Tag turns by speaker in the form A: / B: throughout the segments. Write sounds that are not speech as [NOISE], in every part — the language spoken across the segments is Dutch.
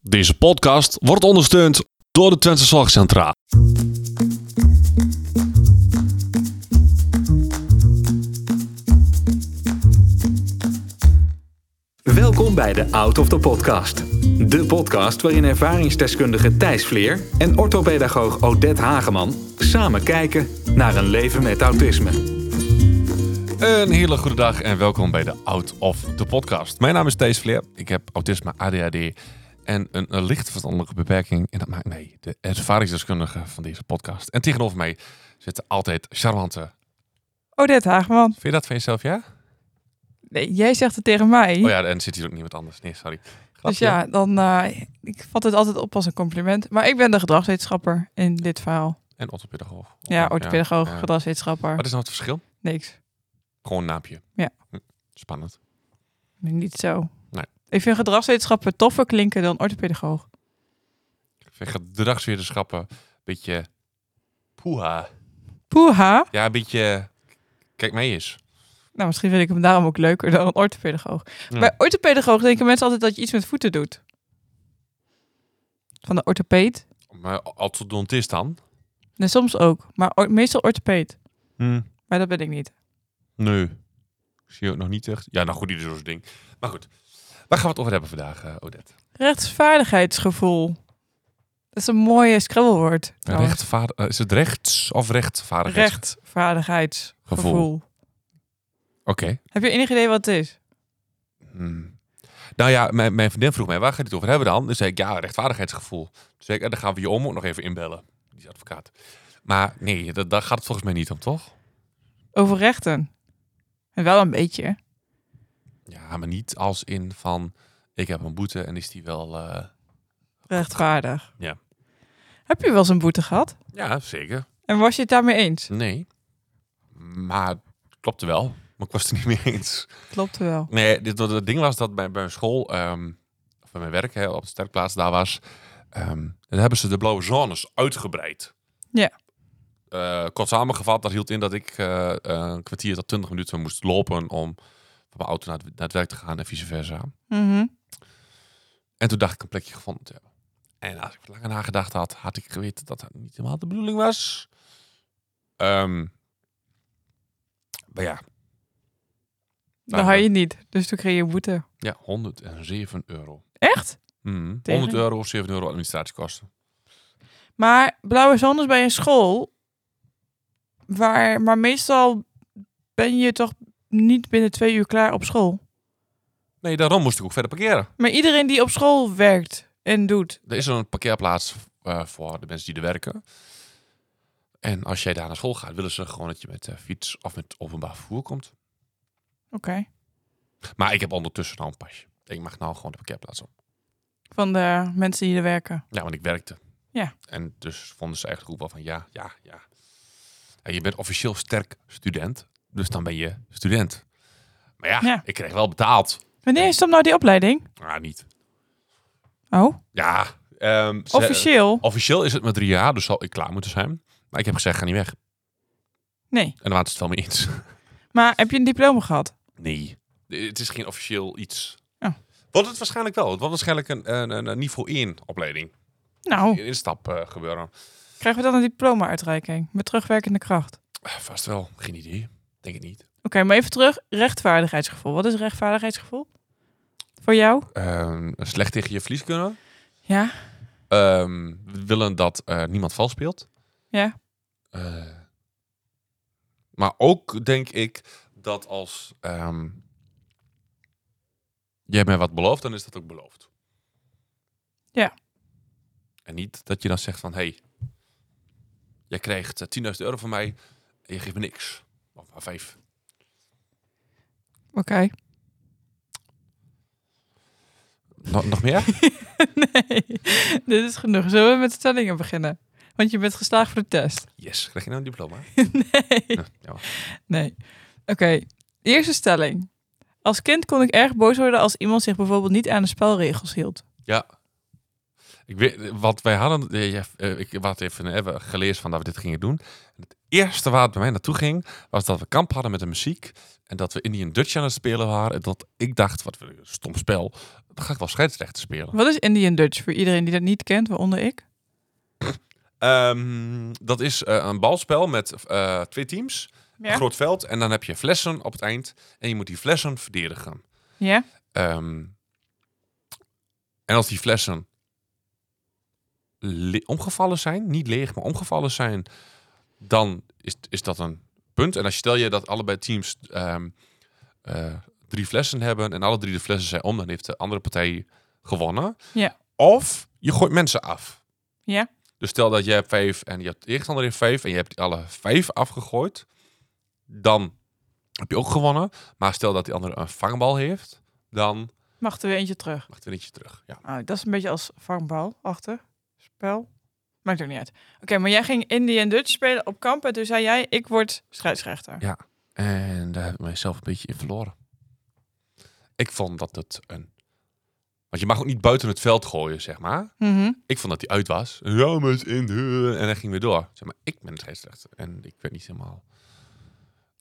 A: Deze podcast wordt ondersteund door de Twentse Zorgcentra.
B: Welkom bij de Out of the Podcast. De podcast waarin ervaringsdeskundige Thijs Vleer en orthopedagoog Odette Hageman samen kijken naar een leven met autisme.
A: Een hele goede dag en welkom bij de Out of the Podcast. Mijn naam is Thees Vleer. Ik heb autisme, ADHD en een, een licht verstandelijke beperking. En dat maakt mij de ervaringsdeskundige van deze podcast. En tegenover mij zitten altijd charmante.
C: Odette Hageman.
A: Vind je dat van jezelf, ja?
C: Nee, jij zegt het tegen mij.
A: Oh ja, en zit hier ook niemand anders. Nee, sorry. Grapje.
C: Hm? dus ja, dan eh, ik vat het altijd op als een compliment. Maar ik ben de gedragswetenschapper in dit verhaal.
A: En orthopedagoog.
C: Ja, orthopedagoog,
A: Oh, ja.
C: gedragswetenschapper.
A: Wat is nou het verschil?
C: Niks.
A: Gewoon een naapje.
C: Ja.
A: Hm, Spannend.
C: Niet zo.
A: Nee.
C: Ik vind gedragswetenschapper toffer klinken dan orthopedagoog.
A: Ik vind gedragswetenschappen een beetje poeha.
C: Poeha.
A: Ja, een beetje. Kijk mij eens.
C: Nou, misschien vind ik hem daarom ook leuker dan een orthopedagoog.
A: Ja.
C: Bij orthopedagoog denken mensen altijd dat je iets met voeten doet. Van de orthopeed.
A: Maar orthodontist dan?
C: Nee, soms ook. Maar or- meestal orthopeed.
A: Hmm.
C: Maar dat ben ik niet.
A: Nee. Ik zie ook nog niet echt. Ja, nou goed, ieder zo'n ding. Maar goed. Waar gaan we het over hebben vandaag, eh, Odette?
C: Rechtsvaardigheidsgevoel. Dat is een mooie scrabblewoord. trouwens.
A: Rechtvaardig, eh, is het rechts of rechtvaardigheid?
C: Rechtvaardigheidsgevoel.
A: Gevoel. Oké.
C: Heb je enig idee wat het is?
A: Hmm. Nou ja, mijn, mijn vriendin vroeg mij, waar gaat je het over hebben dan? Dus zei ik, ja, rechtvaardigheidsgevoel. Toen zei ik, eh, dan gaan we je oom ook nog even inbellen. Die is advocaat. Maar nee, dat, daar gaat het volgens mij niet om, toch?
C: Over rechten. En wel een beetje.
A: Ja, maar niet als in van, ik heb een boete en is die wel... eh,
C: Rechtvaardig.
A: Ja.
C: Heb je wel eens een boete gehad?
A: Ja, zeker.
C: En was je het daarmee eens?
A: Nee. Maar het klopte wel. Maar ik was het er niet mee eens.
C: Klopt wel.
A: Nee, dit, wat het ding was dat bij, bij mijn school, ehm, of bij mijn werk hè, op de sterkplaats daar was, ehm dan hebben ze de blauwe zones uitgebreid.
C: Ja.
A: Eh, kort samengevat, dat hield in dat ik eh, eh, een kwartier tot twintig minuten moest lopen om van mijn auto naar het, naar het werk te gaan en vice versa.
C: Mhm.
A: En toen dacht ik een plekje gevonden te hebben. En als ik wat langer nagedacht had, had ik geweten dat dat niet helemaal de bedoeling was. Ehm, maar ja, Nou,
C: Dan had je het niet. Dus toen kreeg je een boete.
A: ja, 107 euro.
C: Echt?
A: Mhm,
C: Tegen?
A: 100 euro of 7 euro administratiekosten.
C: Maar blauwe zones bij een school. Waar, maar meestal ben je toch niet binnen twee uur klaar op school.
A: Nee, daarom moest ik ook verder parkeren.
C: Maar iedereen die op school werkt en doet.
A: Er is een parkeerplaats eh, voor de mensen die er werken. En als jij daar naar school gaat, willen ze gewoon dat je met eh, fiets of met openbaar vervoer komt.
C: Oké.
A: Maar ik heb ondertussen al een pasje. Ik mag nou gewoon de parkeerplaats op.
C: Van de mensen die er werken.
A: Ja, want ik werkte.
C: Ja.
A: En dus vonden ze eigenlijk ook wel van ja, ja, ja. En je bent officieel sterk student, dus dan ben je student. Maar ja,
C: Ja.
A: ik kreeg wel betaald.
C: Wanneer is dan nou die opleiding?
A: Maar niet.
C: Oh,
A: Ja. ehm, ze-
C: officieel?
A: Officieel is het maar drie jaar, dus zal ik klaar moeten zijn. Maar ik heb gezegd, ga niet weg. En
C: Nee.
A: daar waren ze het wel mee eens.
C: Maar heb je een diploma gehad?
A: [LAUGHS] Nee. Het is geen officieel iets.
C: Ja.
A: Wat het waarschijnlijk wel. Het was waarschijnlijk een, een, een- een niveau 1 opleiding.
C: Nou,
A: Een instap eh, gebeuren.
C: krijgen we dan een diploma-uitreiking met terugwerkende kracht? Oké,
A: Eh, Vast wel. Geen idee. Denk het niet.
C: maar even terug. Rechtvaardigheidsgevoel. Wat is rechtvaardigheidsgevoel? Voor jou?
A: Ehm, slecht tegen je verlies kunnen.
C: Ja.
A: Ehm, we willen dat eh, niemand vals speelt.
C: Ja.
A: Eh, maar ook denk ik dat als ehm, jij mij wat belooft, dan is dat ook beloofd.
C: Ja.
A: En niet dat je dan zegt van, hé, hey, jij krijgt eh, 10.000 euro van mij en je geeft me niks. Of maar vijf.
C: Oké.
A: Nog, nog meer?
C: [LAUGHS] Nee, dit is genoeg. Zullen we met stellingen beginnen? Want je bent geslaagd voor de test.
A: [LAUGHS] Yes, krijg je nou een diploma?
C: Nee.
A: Ja, jammer.
C: Nee. Oké, de eerste stelling. Als kind kon ik erg boos worden als iemand zich bijvoorbeeld niet aan de spelregels hield.
A: ja. Ik weet, wat wij hadden, eh, ja, eh, ik had even, eh, even geleerd van dat we dit gingen doen. Het eerste waar het bij mij naartoe ging, was dat we kamp hadden met de muziek. En dat we Indian Dutch aan het spelen waren. En dat ik dacht, wat een stom spel. Dan ga ik wel scheidsrechter spelen.
C: Wat is Indian Dutch voor iedereen die dat niet kent, waaronder ik?
A: Ehm, dat is eh, een balspel met eh, twee teams. Een groot veld. En dan heb je flessen op het eind. En je moet die flessen verdedigen.
C: Ja?
A: Ehm, en als die flessen le- omgevallen zijn, niet leeg, maar omgevallen zijn, dan is, is dat een punt. En als stel je dat allebei teams ehm, eh, drie flessen hebben en alle drie de flessen zijn om, dan heeft de andere partij gewonnen.
C: Ja.
A: Of je gooit mensen af.
C: Ja.
A: Dus stel dat jij hebt vijf en je hebt de tegenstander heeft vijf en je hebt alle vijf afgegooid, dan heb je ook gewonnen. Maar stel dat die andere een vangbal heeft, dan
C: Mag er weer eentje terug.
A: mag het een eentje terug. Ja.
C: Oh, dat is een beetje als vangbal achter. Spel. Maakt ook niet uit. Oké, maar jij ging Indian Dutch spelen op kamp en toen zei jij, ik word scheidsrechter.
A: Ja. En daar heb ik mijzelf een beetje in verloren. Ik vond dat het een... Want je mag ook niet buiten het veld gooien, zeg maar.
C: Mhm.
A: Ik vond dat hij uit was. Ja, maar het is in de... En hij ging weer door. Zeg maar, ik ben de scheidsrechter. En ik werd niet helemaal...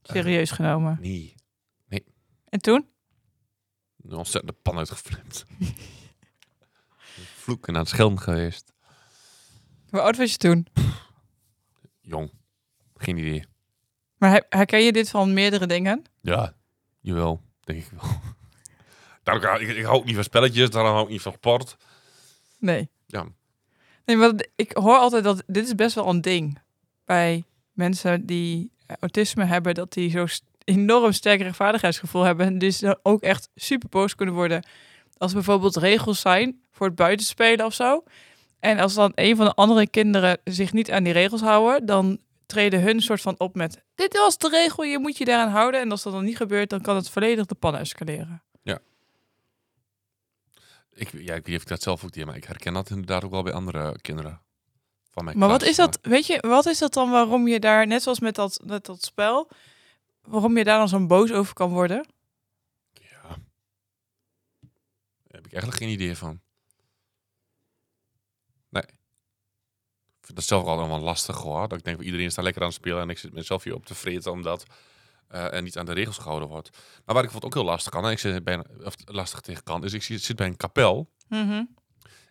A: eh,
C: Serieus genomen.
A: nee.
C: En toen?
A: Een ontzettende pan uitgeflipt. [LAUGHS] Vloeken aan het schelm geweest.
C: Hoe oud was je toen?
A: Jong. Geen idee.
C: Maar her- herken je dit van meerdere dingen?
A: Ja, jawel, denk ik wel. Daarom, Nou, ik, ik hou ook niet van spelletjes, daarom hou ik niet van sport.
C: Nee.
A: Ja.
C: Nee, want ik hoor altijd dat dit is best wel een ding bij mensen die eh, autisme hebben, dat die zo st- enorm sterk rechtvaardigheidsgevoel hebben en dus dan ook echt super boos kunnen worden als er bijvoorbeeld regels zijn voor het buitenspelen of zo. En als dan een van de andere kinderen zich niet aan die regels houden, dan treden hun soort van op met dit was de regel, je moet je daaraan houden. En als dat dan niet gebeurt, dan kan het volledig de pan escaleren.
A: Ik, ja, ik weet niet of ik dat zelf ook deed, maar ik herken dat inderdaad ook wel bij andere kinderen. Van mijn
C: Maar
A: klas,
C: wat is dat, weet je, wat is dat dan waarom je daar, net zoals met dat, met dat spel, waarom je daar dan zo'n boos over kan worden?
A: Ja. Daar heb ik eigenlijk geen idee van. Nee. Ik vind dat zelf ook altijd wel lastig hoor. Dat ik denk, iedereen staat lekker aan het spelen en ik zit mezelf hier op te vreten omdat eh er niet aan de regels gehouden wordt. Maar waar ik het ook heel lastig kan, en ik zit bij een- of lastig tegen kan, is ik zit zit bij een kapel En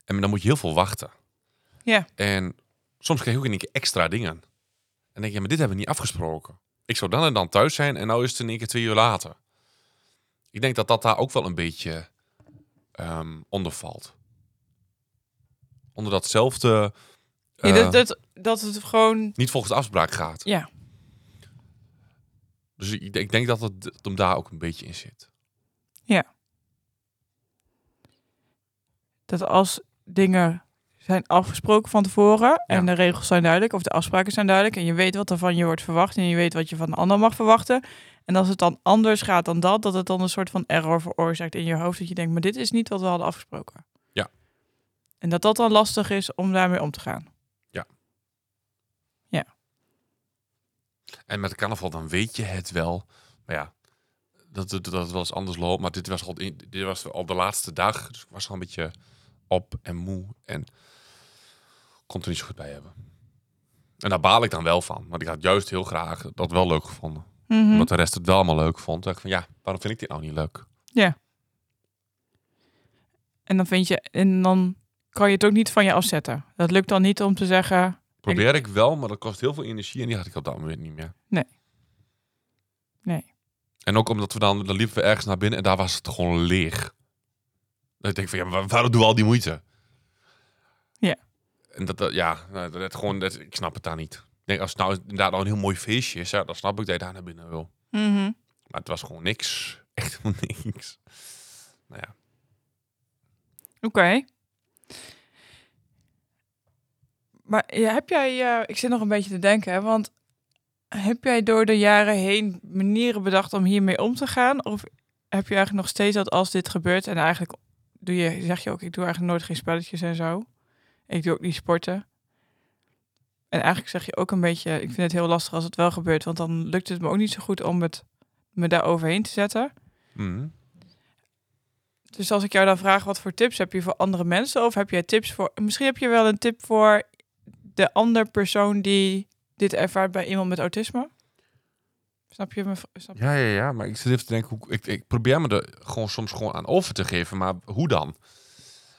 A: dan moet je heel veel wachten.
C: Ja.
A: En soms krijg je ook in één keer extra dingen. En dan denk je, ja, maar dit hebben we niet afgesproken. Ik zou dan en dan thuis zijn en nou is het in één keer twee uur later. Ik denk dat dat daar ook wel een beetje ehm onder valt. Onder datzelfde...
C: Ja,
A: eh,
C: dat, dat, dat het gewoon,
A: Niet volgens de afspraak gaat.
C: ja.
A: Dus ik, ik denk dat het hem daar ook een beetje in zit.
C: dat als dingen zijn afgesproken van tevoren en
A: Ja.
C: de regels zijn duidelijk of de afspraken zijn duidelijk en je weet wat er van je wordt verwacht en je weet wat je van de ander mag verwachten. En als het dan anders gaat dan dat, dat het dan een soort van error veroorzaakt in je hoofd dat je denkt, maar dit is niet wat we hadden afgesproken.
A: Ja.
C: En dat dat dan lastig is om daarmee om te gaan.
A: En met de carnaval, dan weet je het wel. Maar ja, dat, dat, dat het wel eens anders loopt. Maar dit was, al, in- dit was al de laatste dag. Dus ik was al een beetje op en moe. En kon er niet zo goed bij hebben. En daar baal ik dan wel van. Want ik had juist heel graag dat wel leuk gevonden.
C: Mhm.
A: Omdat de rest het wel allemaal leuk vond. Dacht ik van, ja, waarom vind ik dit nou niet leuk?
C: En dan vind je, en dan kan je het ook niet van je afzetten. Dat lukt dan niet om te zeggen,
A: Probeer ik wel, maar dat kost heel veel energie. En die had ik op dat moment niet meer.
C: Nee. Nee.
A: En ook omdat we dan, dan liepen we ergens naar binnen en daar was het gewoon leeg. Dat ik denk van, ja, maar waarom doen we al die moeite?
C: Ja.
A: En dat, dat ja, nou, dat, dat gewoon, dat, ik snap het daar niet. Ik denk, als het nou inderdaad al een heel mooi feestje is, ja, dan snap ik dat je daar naar binnen wil.
C: mhm,
A: Maar het was gewoon niks. [LAUGHS] Echt helemaal niks. Nou ja.
C: oké. Maar ja, heb jij, eh, ik zit nog een beetje te denken, hè, want heb jij door de jaren heen manieren bedacht om hiermee om te gaan? Of heb je eigenlijk nog steeds dat als dit gebeurt en eigenlijk doe je, zeg je ook, ik doe eigenlijk nooit geen spelletjes en zo. Ik doe ook niet sporten. En eigenlijk zeg je ook een beetje, ik vind het heel lastig als het wel gebeurt, want dan lukt het me ook niet zo goed om het me daar overheen te zetten.
A: Mhm.
C: Dus als ik jou dan vraag, wat voor tips heb je voor andere mensen? Of heb jij tips voor... Misschien heb je wel een tip voor de andere persoon die dit ervaart bij iemand met autisme? Snap je me? Snap je?
A: Ja, ja, ja. Maar ik zit even te denken, hoe, ik, ik probeer me er gewoon soms gewoon aan over te geven. Maar hoe dan?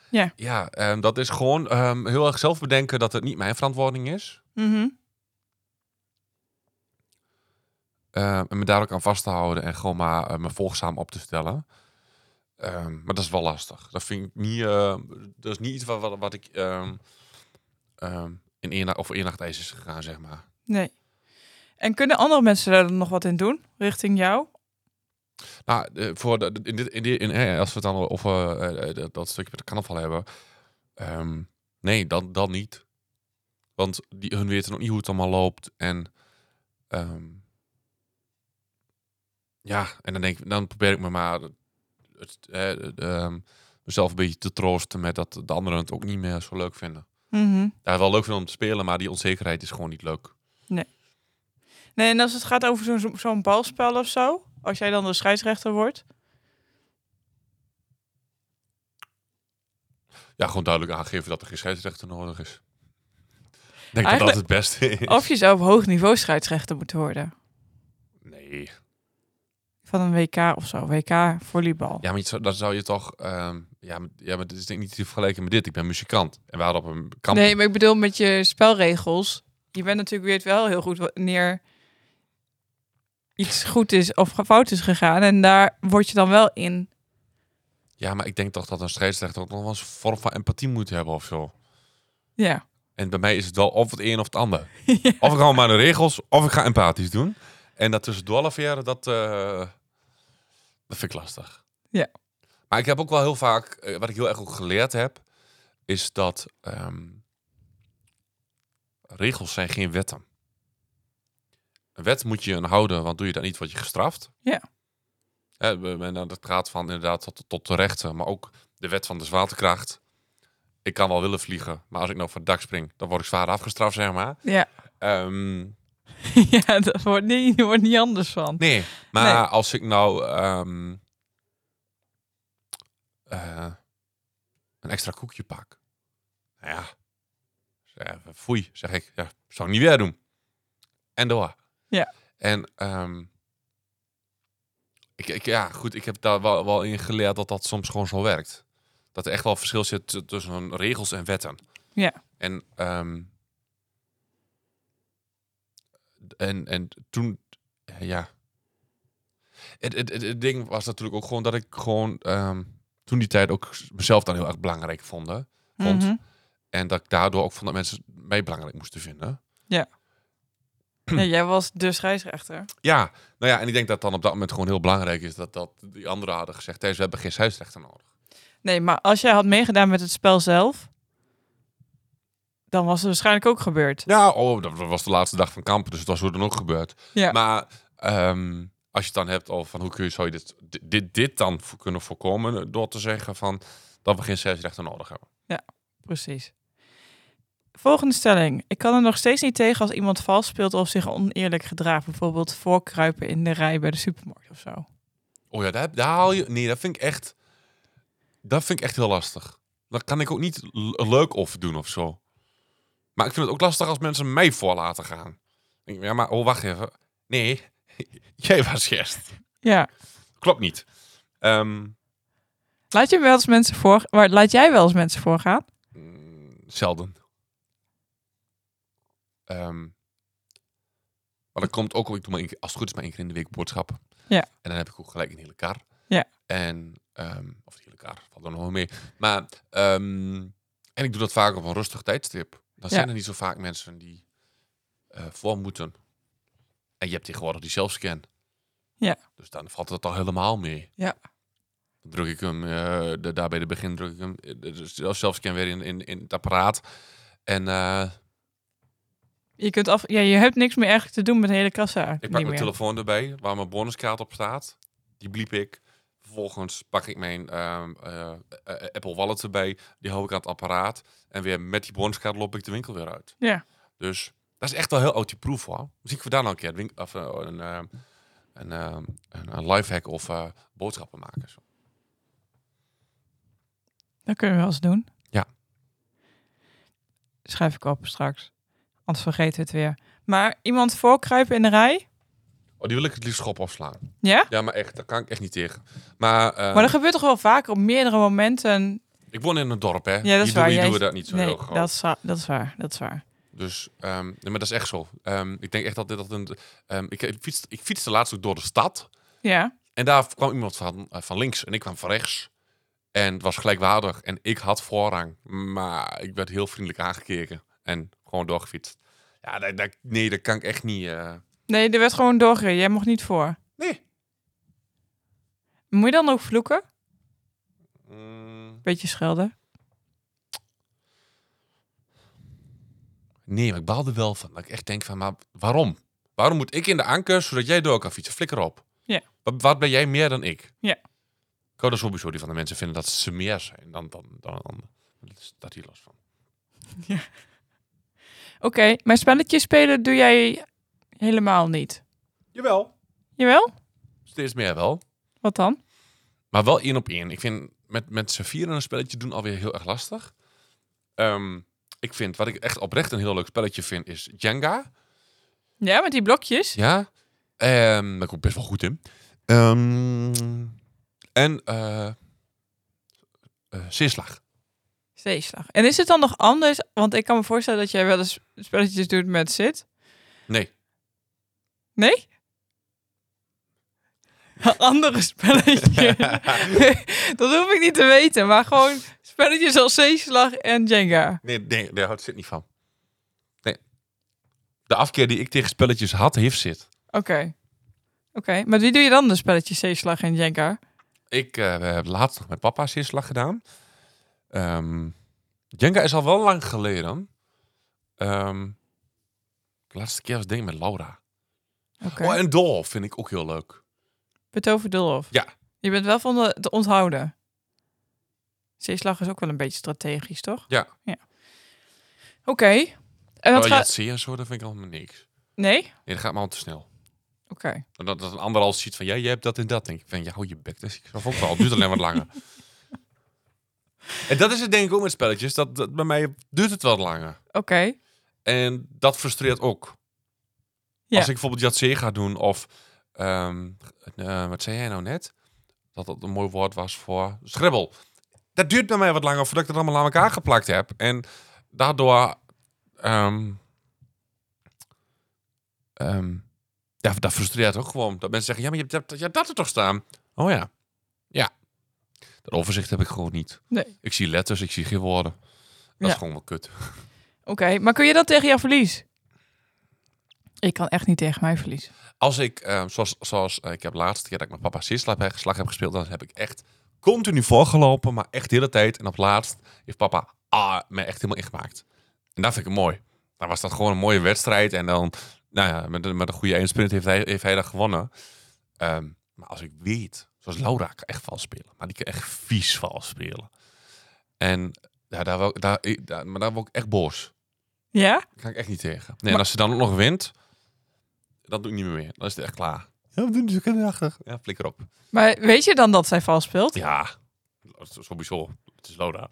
C: Ja.
A: Ja, ehm, dat is gewoon ehm, heel erg zelf bedenken dat het niet mijn verantwoording is.
C: Mhm.
A: Eh, en me daar ook aan vast te houden en gewoon maar eh, me volgzaam op te stellen. Ehm, maar dat is wel lastig. Dat vind ik niet. eh, dat is niet iets wat, wat, wat ik ehm, ehm, in één na- of één nacht ijs is gegaan, zeg maar.
C: Nee. En kunnen andere mensen daar dan nog wat in doen? Richting jou?
A: Nou, eh, voor de, in dit, in dit, in, eh, als we het dan over eh, eh, dat, dat stukje met de carnaval hebben. ehm, nee, dan, dan niet. Want die, hun weten nog niet hoe het allemaal loopt. En ehm, ja, en dan, denk ik, dan probeer ik me maar het, eh, het, ehm, mezelf een beetje te troosten met dat de anderen het ook niet meer zo leuk vinden.
C: Mhm.
A: Ja, wel leuk vinden om te spelen, maar die onzekerheid is gewoon niet leuk.
C: Nee, en als het gaat over zo'n zo'n balspel of zo, als jij dan de scheidsrechter wordt.
A: Ja, gewoon duidelijk aangeven dat er geen scheidsrechter nodig is. Ik denk dat dat
C: Eigenlijk- Oh.
A: het beste is.
C: Of je zou op hoog niveau scheidsrechter moeten worden.
A: Nee.
C: Van een WK of zo, WK volleybal.
A: Ja, maar je zou- dan zou je toch... ehm, ja, maar, ja, maar dit is denk ik niet te vergelijken met dit. Ik ben muzikant. En we hadden op een kamp...
C: Nee, maar ik bedoel met je spelregels. Je bent natuurlijk weet wel heel goed wanneer iets goed is of ge- fout is gegaan. En daar word je dan wel in.
A: Ja, maar ik denk toch dat een scheidsrechter ook nog wel eens een vorm van empathie moet hebben of zo.
C: Ja.
A: En bij mij is het wel of het een of het
C: [LAUGHS]
A: ander. Of ik hou maar de regels, of ik ga empathisch doen. En dat tussendoor laveren, dat, eh, dat vind ik lastig.
C: Ja.
A: Maar ik heb ook wel heel vaak, eh, wat ik heel erg ook geleerd heb, is dat ehm, regels zijn geen wetten. Een wet moet je aan houden, want doe je dat niet, word je gestraft.
C: Ja.
A: Eh, we- we- nou, dat gaat van inderdaad tot, tot de rechten, maar ook de wet van de zwaartekracht. Ik kan wel willen vliegen, maar als ik nou van het dak spring, dan word ik zwaar afgestraft, zeg maar.
C: Ja,
A: Ehm,
C: [LAUGHS] ja dat wordt niet, je wordt niet anders van.
A: nee, maar
C: Nee.
A: als ik nou ehm, eh, een extra koekje pak. Nou ja, zeg, foei, zeg ik. Ja, zou ik niet weer doen. En door.
C: Ja.
A: En ehm, ik, ik, ja, goed, ik heb daar wel, wel in geleerd dat dat soms gewoon zo werkt. Dat er echt wel verschil zit t- tussen regels en wetten.
C: Ja.
A: En, ehm, en, en toen, ja. Het, het, het, het ding was natuurlijk ook gewoon dat ik gewoon ehm, toen die tijd ook mezelf dan heel erg belangrijk vond. hè. vond.
C: Mhm.
A: En dat ik daardoor ook vond dat mensen mij belangrijk moesten vinden.
C: Nee, jij was de scheidsrechter.
A: Ja, nou ja, en ik denk dat dan op dat moment gewoon heel belangrijk is dat, dat die anderen hadden gezegd: hey, we hebben geen scheidsrechter nodig.
C: Nee, maar als jij had meegedaan met het spel zelf, dan was het waarschijnlijk ook gebeurd.
A: Ja, oh, dat was de laatste dag van kampen, dus dat was hoe dan ook gebeurd.
C: Ja.
A: Maar ehm, als je het dan hebt over van hoe kun je, zou je dit, di- dit, dit dan vo- kunnen voorkomen eh, door te zeggen van dat we geen scheidsrechter nodig hebben.
C: Precies. Volgende stelling. Ik kan er nog steeds niet tegen als iemand vals speelt of zich oneerlijk gedraagt. Bijvoorbeeld voorkruipen in de rij bij de supermarkt of zo.
A: Oh ja, daar, heb- daar haal je. Nee, dat vind ik echt. Dat vind ik echt heel lastig. Dat kan ik ook niet l- leuk of doen of zo. Maar ik vind het ook lastig als mensen mij voor laten gaan. Dan denk ik, Ja, maar oh, wacht even. Nee, [LAUGHS] jij was eerst.
C: Ja.
A: Klopt niet. Ehm,
C: Laat, je wel eens mensen voor... maar laat jij wel eens mensen voorgaan?
A: mm, zelden. Ehm, maar dat komt ook, ik doe maar één keer- als het goed is, maar één keer in de week boodschappen.
C: Ja.
A: En dan heb ik ook gelijk een hele kar.
C: Ja.
A: En, ehm, of een hele kar, valt er nog wel mee. Maar, ehm, en ik doe dat vaak op een rustig tijdstip. Dan
C: Ja.
A: zijn er niet zo vaak mensen die eh, voor moeten. En je hebt tegenwoordig die zelfscan.
C: Ja.
A: Dus dan valt het al helemaal mee.
C: Ja.
A: Dan druk ik hem, eh, de, daar bij de begin druk ik hem, eh, de- de zelf- zelfscan weer in, in, in het apparaat. En eh,
C: Je, kunt af... ja, je hebt niks meer eigenlijk te doen met de hele kassa.
A: ik
C: Niet
A: pak mijn
C: meer.
A: telefoon erbij, waar mijn bonuskaart op staat. Die bliep ik. Vervolgens pak ik mijn ehm, eh, eh, Apple Wallet erbij. Die hou ik aan het apparaat. En weer met die bonuskaart loop ik de winkel weer uit.
C: Ja. Dus...
A: Dat is echt wel heel autieproof hoor. Misschien kunnen we daar nou een keer een winkel- of, eh, een, ehm, een, ehm, een, een lifehack of eh, boodschappen maken. Zo.
C: Dat kunnen we wel eens doen.
A: Ja.
C: Schrijf ik op straks. Anders vergeten we het weer. Maar iemand voorkruipen in de rij?
A: Oh, die wil ik het liefst schop afslaan.
C: Ja?
A: Ja, maar echt, daar kan ik echt niet tegen. Maar, eh,
C: Maar dat gebeurt toch wel vaker op meerdere momenten.
A: ik woon in een dorp, hè?
C: Ja, dat
A: Hier
C: is
A: doen-
C: waar.
A: hier
C: Jij-
A: doen we dat niet zo
C: Nee,
A: heel groot.
C: dat is, wa- dat is waar. Dat is waar.
A: Dus, ehm, nee, maar dat is echt zo. Ehm, ik denk echt dat dit... Dat een, ehm, ik, ik, fietste, ik fietste laatst ook door de stad.
C: Ja.
A: En daar kwam iemand van, eh, van links en ik kwam van rechts. En het was gelijkwaardig. En ik had voorrang. Maar ik werd heel vriendelijk aangekeken. En gewoon doorgefietst. Ja, dat, dat- nee, dat kan ik echt niet... eh.
C: Nee, er werd gewoon doorgereden. Jij mocht niet voor.
A: Nee.
C: Moet je dan ook vloeken?
A: Mm,
C: Beetje schelden.
A: nee, maar ik baalde wel van. Dat ik echt denk van, maar waarom? Waarom moet ik in de anker, zodat jij door kan fietsen? Flikker op.
C: Ja.
A: Wat, wat ben jij meer dan ik?
C: Ja.
A: Ik hou er sowieso die van de mensen vinden dat ze meer zijn dan dan dan. dan. Dat is dat hier los van.
C: Oké, maar spelletjes spelen doe jij helemaal niet.
A: Jawel.
C: Jawel?
A: Steeds meer wel.
C: Wat dan?
A: Maar wel één op één. Ik vind met, met z'n vieren een spelletje doen alweer heel erg lastig. Ehm, ik vind, wat ik echt oprecht een heel leuk spelletje vind, is Jenga.
C: Ja, met die blokjes?
A: Ja. Ehm daar kom ik best wel goed in. Ehm, en eh eh, Zeeslag.
C: Zeeslag. En is het dan nog anders? Want ik kan me voorstellen dat jij wel eens spelletjes doet met zit.
A: Nee.
C: Nee? Andere
A: [LAUGHS]
C: spelletjes. [LAUGHS] dat hoef ik niet te weten. Maar gewoon spelletjes als zeeslag en Jenga.
A: Nee, nee, daar houdt zit niet van. Nee. De afkeer die ik tegen spelletjes had, heeft zit.
C: Oké. Oké, maar wie doe je dan de spelletjes zeeslag en Jenga?
A: Ik eh, heb laatst nog met papa Sisslag gedaan. Ehm, Jenga is al wel lang geleden. Ehm, de laatste keer was het ding met Laura.
C: Oké.
A: Oh, en Dol vind ik ook heel leuk.
C: Betover Dolhof.
A: Ja.
C: Je bent wel van de, te onthouden. Zeeslag is ook wel een beetje strategisch, toch?
A: Ja.
C: ja. Oké. En
A: Oh,
C: wat gaat...
A: Yahtzee en zo, dat vind ik allemaal niks.
C: Nee? Oké.
A: Nee, dat gaat me al te snel. En Dat, dat een ander al ziet van, ja, jij hebt dat en dat. denk ik van, ja, hou je bek. Dat is ik ook wel. Het duurt alleen wat langer. en dat is het denk ik ook met spelletjes. Dat, dat, bij mij duurt het wat langer.
C: Oké.
A: En dat frustreert ook.
C: Ja.
A: Als ik bijvoorbeeld Yatzee ga doen of... ehm, eh, wat zei jij nou net? Dat dat een mooi woord was voor schribbel. Dat duurt bij mij wat langer voordat ik het allemaal aan elkaar geplakt heb. En daardoor... ehm, ehm, ja, dat frustreert ook gewoon. Dat mensen zeggen, ja, maar je hebt dat, ja, dat er toch staan? Oh ja. Ja. Dat overzicht heb ik gewoon niet.
C: Nee.
A: Ik zie letters, ik zie geen woorden. Dat
C: Ja.
A: is gewoon wel kut.
C: Oké, maar kun je dat tegen jouw verlies? Ik kan echt niet tegen mijn verlies.
A: Als ik, eh, zoals, zoals eh, ik heb de laatste keer dat ik met papa Sisla heb geslag heb gespeeld, dan heb ik echt continu voorgelopen, maar echt de hele tijd. En op laatst heeft papa ah, me echt helemaal ingemaakt. En dat vind ik mooi. Dan was dat gewoon een mooie wedstrijd. En dan, nou ja, met, een- met een goede eindsprint heeft hij, heeft hij dat gewonnen. Ehm, maar als ik weet, zoals Laura kan echt vals spelen, maar die kan echt vies vals spelen. En ja, daar, wou, daar, ik- daar, maar daar word ik echt boos.
C: Ja?
A: Daar kan ik echt niet tegen. Nee,
C: Maar-
A: en als ze dan ook nog wint, dat doe ik niet meer meer. Dan is het echt klaar. Ja, we doen ze kinderachtig. Ja, flikker op.
C: Maar weet je dan dat zij vals speelt?
A: Ja, sowieso. Het is Loda.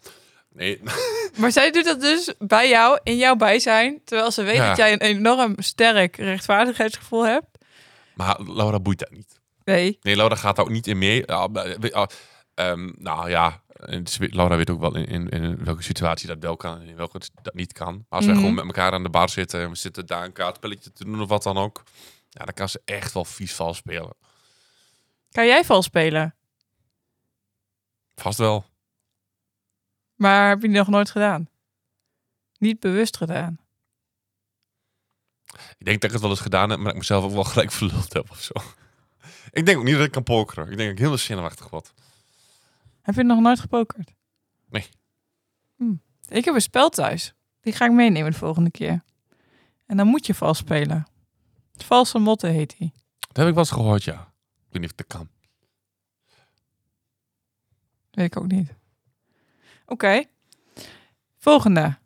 A: Nee, [LAUGHS]
C: Maar zij doet dat dus bij jou, in jouw bijzijn. Terwijl ze weet
A: Ja.
C: dat jij een enorm sterk rechtvaardigheidsgevoel hebt.
A: maar Laura boeit dat niet.
C: Nee.
A: Nee, Laura gaat daar ook niet in mee. Ja, maar, we- ah, ehm, nou ja, het is- Laura weet ook wel in, in, in welke situatie dat wel kan en in welke dat niet kan. Maar als wij
C: Mhm.
A: gewoon met elkaar aan de bar zitten en we zitten daar een kaartspelletje te doen of wat dan ook. Ja, dan kan ze echt wel vies vals spelen.
C: Kan jij vals spelen?
A: Vast wel.
C: Maar heb je nog nooit gedaan? Niet bewust gedaan.
A: Ik denk dat ik het wel eens gedaan heb, maar dat ik mezelf ook wel gelijk verluld heb of zo. Ik denk ook niet dat ik kan pokeren. Ik denk dat ik heel zenuwachtig word.
C: Heb je nog nooit gepokerd?
A: Nee.
C: Hm. Ik heb een spel thuis. Die ga ik meenemen de volgende keer. En dan moet je vals spelen. Valse motten heet die.
A: Dat heb ik wel eens gehoord, ja. Ik weet niet of dat kan.
C: Weet ik ook niet. Oké. Volgende.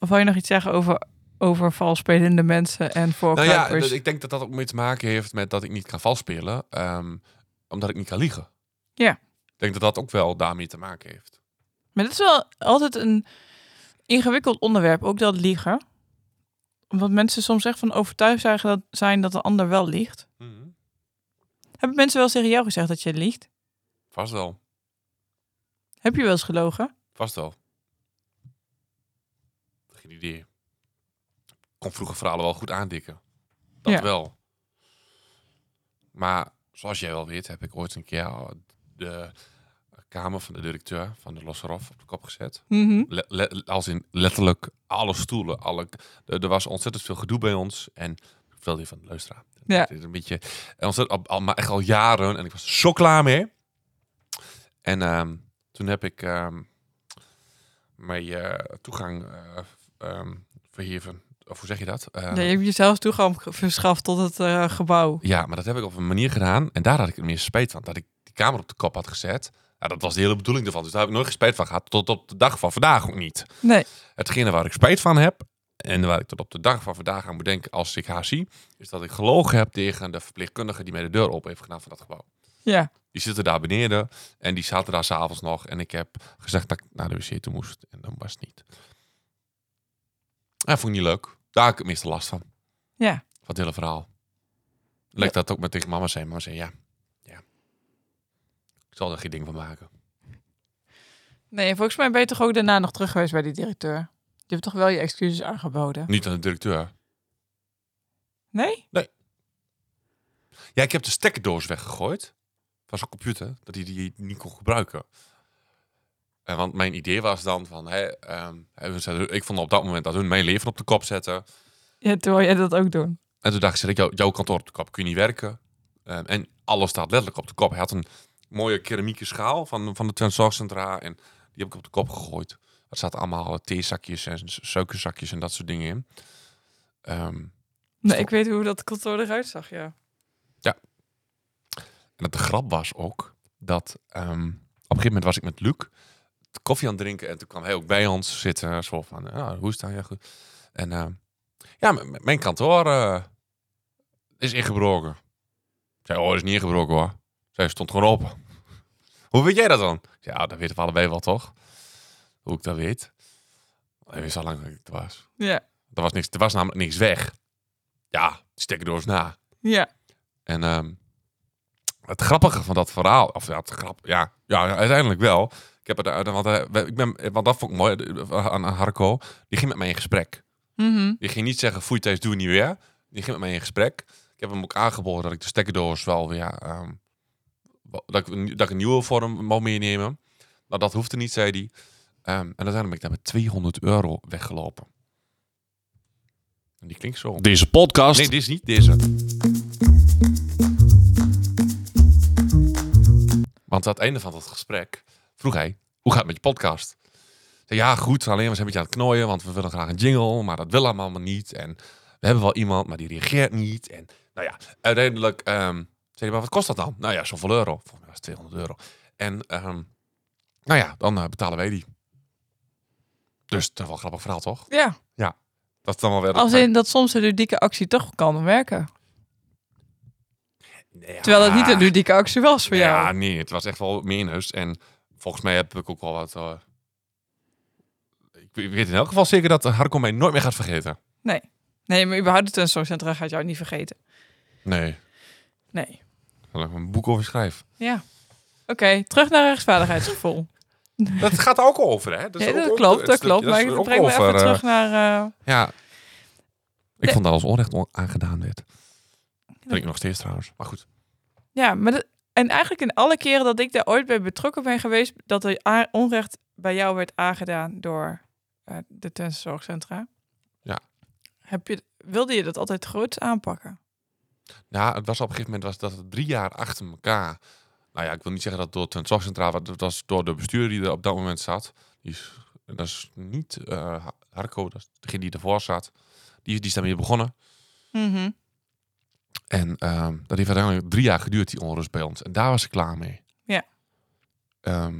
C: Of wil je nog iets zeggen over, over vals spelende mensen en
A: Nou ja,
C: voorkruipers?
A: dat- ik denk dat dat ook mee te maken heeft met dat ik niet kan valspelen. ehm, omdat ik niet kan liegen.
C: Ja.
A: Ik denk dat dat ook wel daarmee te maken heeft.
C: Maar dat is wel altijd een ingewikkeld onderwerp, ook dat liegen. Omdat mensen soms echt van overtuigd zijn dat, zijn dat de ander wel liegt.
A: Mhm.
C: Hebben mensen wel eens tegen jou gezegd dat je liegt?
A: Vast wel.
C: Heb je wel eens gelogen?
A: Vast wel. Geen idee. Ik kon vroeger verhalen wel goed aandikken. Dat
C: Ja.
A: wel. Maar zoals jij wel weet, heb ik ooit een keer de kamer van de directeur van de Losserhof op de kop gezet.
C: Mhm.
A: Le- le- als in letterlijk alle stoelen. Alle, er, er was ontzettend veel gedoe bij ons. En ik vertelde hier van de luisteraar.
C: Ja.
A: Het is een beetje, en ontzettend, al, al- maar echt al jaren. En ik was er zo klaar mee. En ehm, toen heb ik ehm, mijn eh, toegang eh, ehm, verheven. Of hoe zeg je dat? Eh,
C: Nee, je hebt jezelf toegang verschaft tot het eh, gebouw.
A: ja, maar dat heb ik op een manier gedaan. En daar had ik het meer spijt van. Dat ik die kamer op de kop had gezet. Ja, dat was de hele bedoeling ervan. Dus daar heb ik nooit geen spijt van gehad. Tot op de dag van vandaag ook niet.
C: Nee.
A: Hetgene waar ik spijt van heb. En waar ik tot op de dag van vandaag aan moet denken als ik haar zie. Is dat ik gelogen heb tegen de verpleegkundige die mij de deur op heeft gedaan van dat gebouw.
C: Ja.
A: Die zitten daar beneden. En die zaten daar s'avonds nog. En ik heb gezegd dat ik naar de wc toe moest. En dan was het niet. Dat vond ik niet leuk. Daar heb ik het meeste last van.
C: Ja.
A: Van het hele verhaal. Lijkt dat ook maar tegen mama zei. Mama zei ja. ja. Ik zal er geen ding van maken.
C: Nee, volgens mij ben je toch ook daarna nog terug geweest bij die directeur. Je hebt toch wel je excuses aangeboden?
A: Niet aan de directeur.
C: Nee?
A: Ja, ik heb de stekkerdoos weggegooid. Van zijn computer. Dat hij die niet kon gebruiken. En want mijn idee was dan van... Hè, ehm, hè, we zetten- ik vond op dat moment dat hun mijn leven op de kop zetten.
C: Ja, terwijl jij dat ook doen.
A: En toen dacht ik, zet ik, jou, jouw kantoor op de kop, kun je niet werken. Ehm, en alles staat letterlijk op de kop. Hij had een mooie keramieke schaal van, van de transorgcentra en die heb ik op de kop gegooid. Er zaten allemaal eh, theezakjes en su- suikerzakjes en dat soort dingen in. Ehm,
C: Nee, ik weet hoe dat kantoor eruit zag, ja.
A: en dat de grap was ook dat ehm, op een gegeven moment was ik met Luc koffie aan het drinken en toen kwam hij ook bij ons zitten. Zo van, ah, hoe is het aan? Ja, goed. En ehm, ja, m- m- mijn kantoor eh, is ingebroken. Ik zei, oh, is niet ingebroken hoor. Zij stond gewoon open. [LAUGHS] Hoe weet jij dat dan? Ik zei, ja, dat weten we allebei wel toch? Hoe ik dat weet. Hij wist al lang dat ik het was.
C: Ja,
A: Er was, niks, er was namelijk niks weg. Ja, stekkerdoos na.
C: ja.
A: En ehm, het grappige van dat verhaal, of ja, het grap, ja, ja, ja, uiteindelijk wel. Ik heb het, eh, want, eh, we- ik ben, want dat vond ik mooi eh, aan, aan Harco. Die ging met mij in gesprek.
C: Mhm.
A: Die ging niet zeggen, foei Thijs, doe het niet weer. Die ging met mij in gesprek. Ik heb hem ook aangeboden dat ik de stekkerdoos wel weer, ehm, wel- dat, ik, een- dat ik een nieuwe vorm mag meenemen. Maar dat hoefde niet, zei hij. Ehm, en uiteindelijk ben ik daar met 200 euro weggelopen. En die klinkt zo.
D: Deze podcast
A: Nee, dit is niet deze. Want aan het einde van dat gesprek vroeg hij: hoe gaat het met je podcast? Ik zei, ja, goed, alleen we zijn een beetje aan het knooien, want we willen graag een jingle, maar dat wil allemaal maar niet. En we hebben wel iemand, maar die reageert niet. En nou ja, uiteindelijk ehm, zei hij: maar wat kost dat dan? Nou ja, zoveel euro. Volgens mij was het 200 euro. En ehm, nou ja, dan eh, betalen wij die. Dus dat is wel een grappig verhaal, toch?
C: Ja,
A: Dat is dan wel weer.
C: als in dat soms een ludieke actie toch kan werken. Terwijl het niet een
A: Ja.
C: ludieke actie was voor
A: Ah. ja,
C: jou.
A: nee, het was echt wel minus. En volgens mij heb ik ook wel wat... eh, ik weet- ik weet in elk geval zeker dat Harco mij nooit meer gaat vergeten.
C: Nee, maar überhaupt het tentooncentra gaat jou niet vergeten.
A: Nee,
C: Nee.
A: dat ik een boek over schrijf.
C: Ja. Oké, terug naar
A: [LAUGHS]
C: rechtsvaardigheidsgevoel.
A: Dat gaat er ook over, hè?
C: Ja, dat klopt, dat klopt. Maar ik breng me even terug naar... eh,
A: Ja. Ik
C: Nee.
A: vond dat als onrecht on- aangedaan werd. Vind ik nog steeds trouwens. Maar goed.
C: Ja, maar dat- en eigenlijk in alle keren dat ik daar ooit bij betrokken ben geweest, dat er a- onrecht bij jou werd aangedaan door eh, de tenniszorgcentra.
A: Ja.
C: Heb je, wilde je dat altijd groot aanpakken?
A: Ja, Nou, het was op een gegeven moment was dat het drie jaar achter elkaar. Nou ja, ik wil niet zeggen dat door het zorgcentraal, maar dat was door de bestuurder die er op dat moment zat. Die is, dat is niet eh, Harco, dat is degene die ervoor zat. Die, die is daarmee begonnen.
C: Mhm,
A: En ehm, dat heeft uiteindelijk drie jaar geduurd, die onrust bij ons. En daar was ik klaar mee.
C: Ja.
A: Ehm,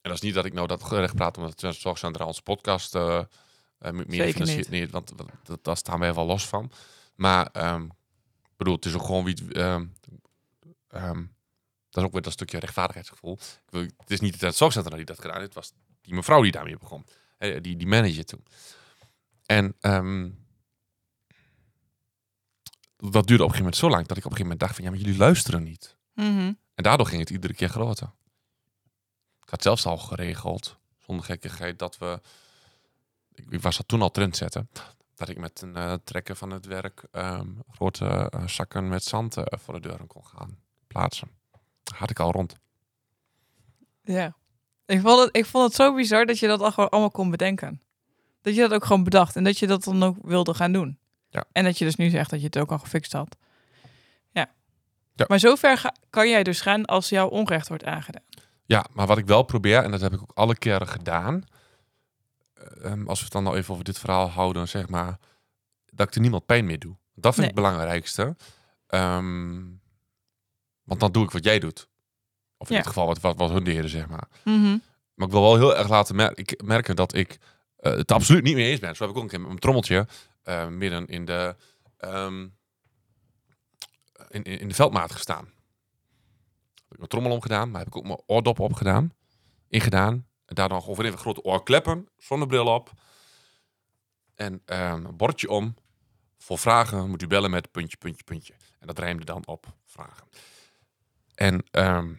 A: en dat is niet dat ik nou dat recht praat, omdat het Zorgcentra onze podcast eh eh, moet meer
C: Zeker
A: financieren.
C: niet.
A: Nee, want dat, dat, daar staan wij wel los van. Maar ehm, ik bedoel, het is ook gewoon wie... het- ehm, ehm, is ook weer dat stukje rechtvaardigheidsgevoel. Ik wil, het is niet het zorgcentrum die dat gedaan heeft. Het was die mevrouw die daarmee begon. Eh, Die, die manager toen. En ehm, dat duurde op een gegeven moment zo lang dat ik op een gegeven moment dacht van ja, maar jullie luisteren niet.
C: Mhm.
A: En daardoor ging het iedere keer groter. Ik had zelfs al geregeld, zonder gekkigheid, dat we... Ik, ik was dat toen al trendzetten. Dat ik met een eh, trekker van het werk ehm, grote eh, zakken met zand eh, voor de deuren kon gaan plaatsen. Had ik al rond.
C: Ja. Ik vond, het, ik vond het zo bizar dat je dat al gewoon allemaal kon bedenken. Dat je dat ook gewoon bedacht en dat je dat dan ook wilde gaan doen.
A: Ja.
C: En dat je dus nu zegt dat je het ook al gefixt had. Ja.
A: Ja.
C: Maar zover ga- kan jij dus gaan als jouw onrecht wordt aangedaan.
A: Ja, maar wat ik wel probeer, en dat heb ik ook alle keren gedaan. ehm, als we het dan nou even over dit verhaal houden, zeg maar. Dat ik er niemand pijn mee doe. Dat vind ik
C: Nee.
A: het belangrijkste. Ehm, want dan doe ik wat jij doet. Of in
C: Ja.
A: dit geval wat, wat, wat hun deden, zeg maar.
C: Mhm.
A: Maar ik wil wel heel erg laten mer- ik merken dat ik eh, het absoluut niet mee eens ben. Zo heb ik ook een keer met mijn trommeltje eh, midden in de, ehm, in, in, in de veldmaat gestaan. Heb ik mijn trommel omgedaan, maar heb ik ook mijn oordop opgedaan. Ingedaan. En daar dan gewoon even grote oorkleppen, zonnebril op. En ehm, een bordje om. Voor vragen moet u bellen met puntje, puntje, puntje. En dat rijmde dan op vragen. En ehm,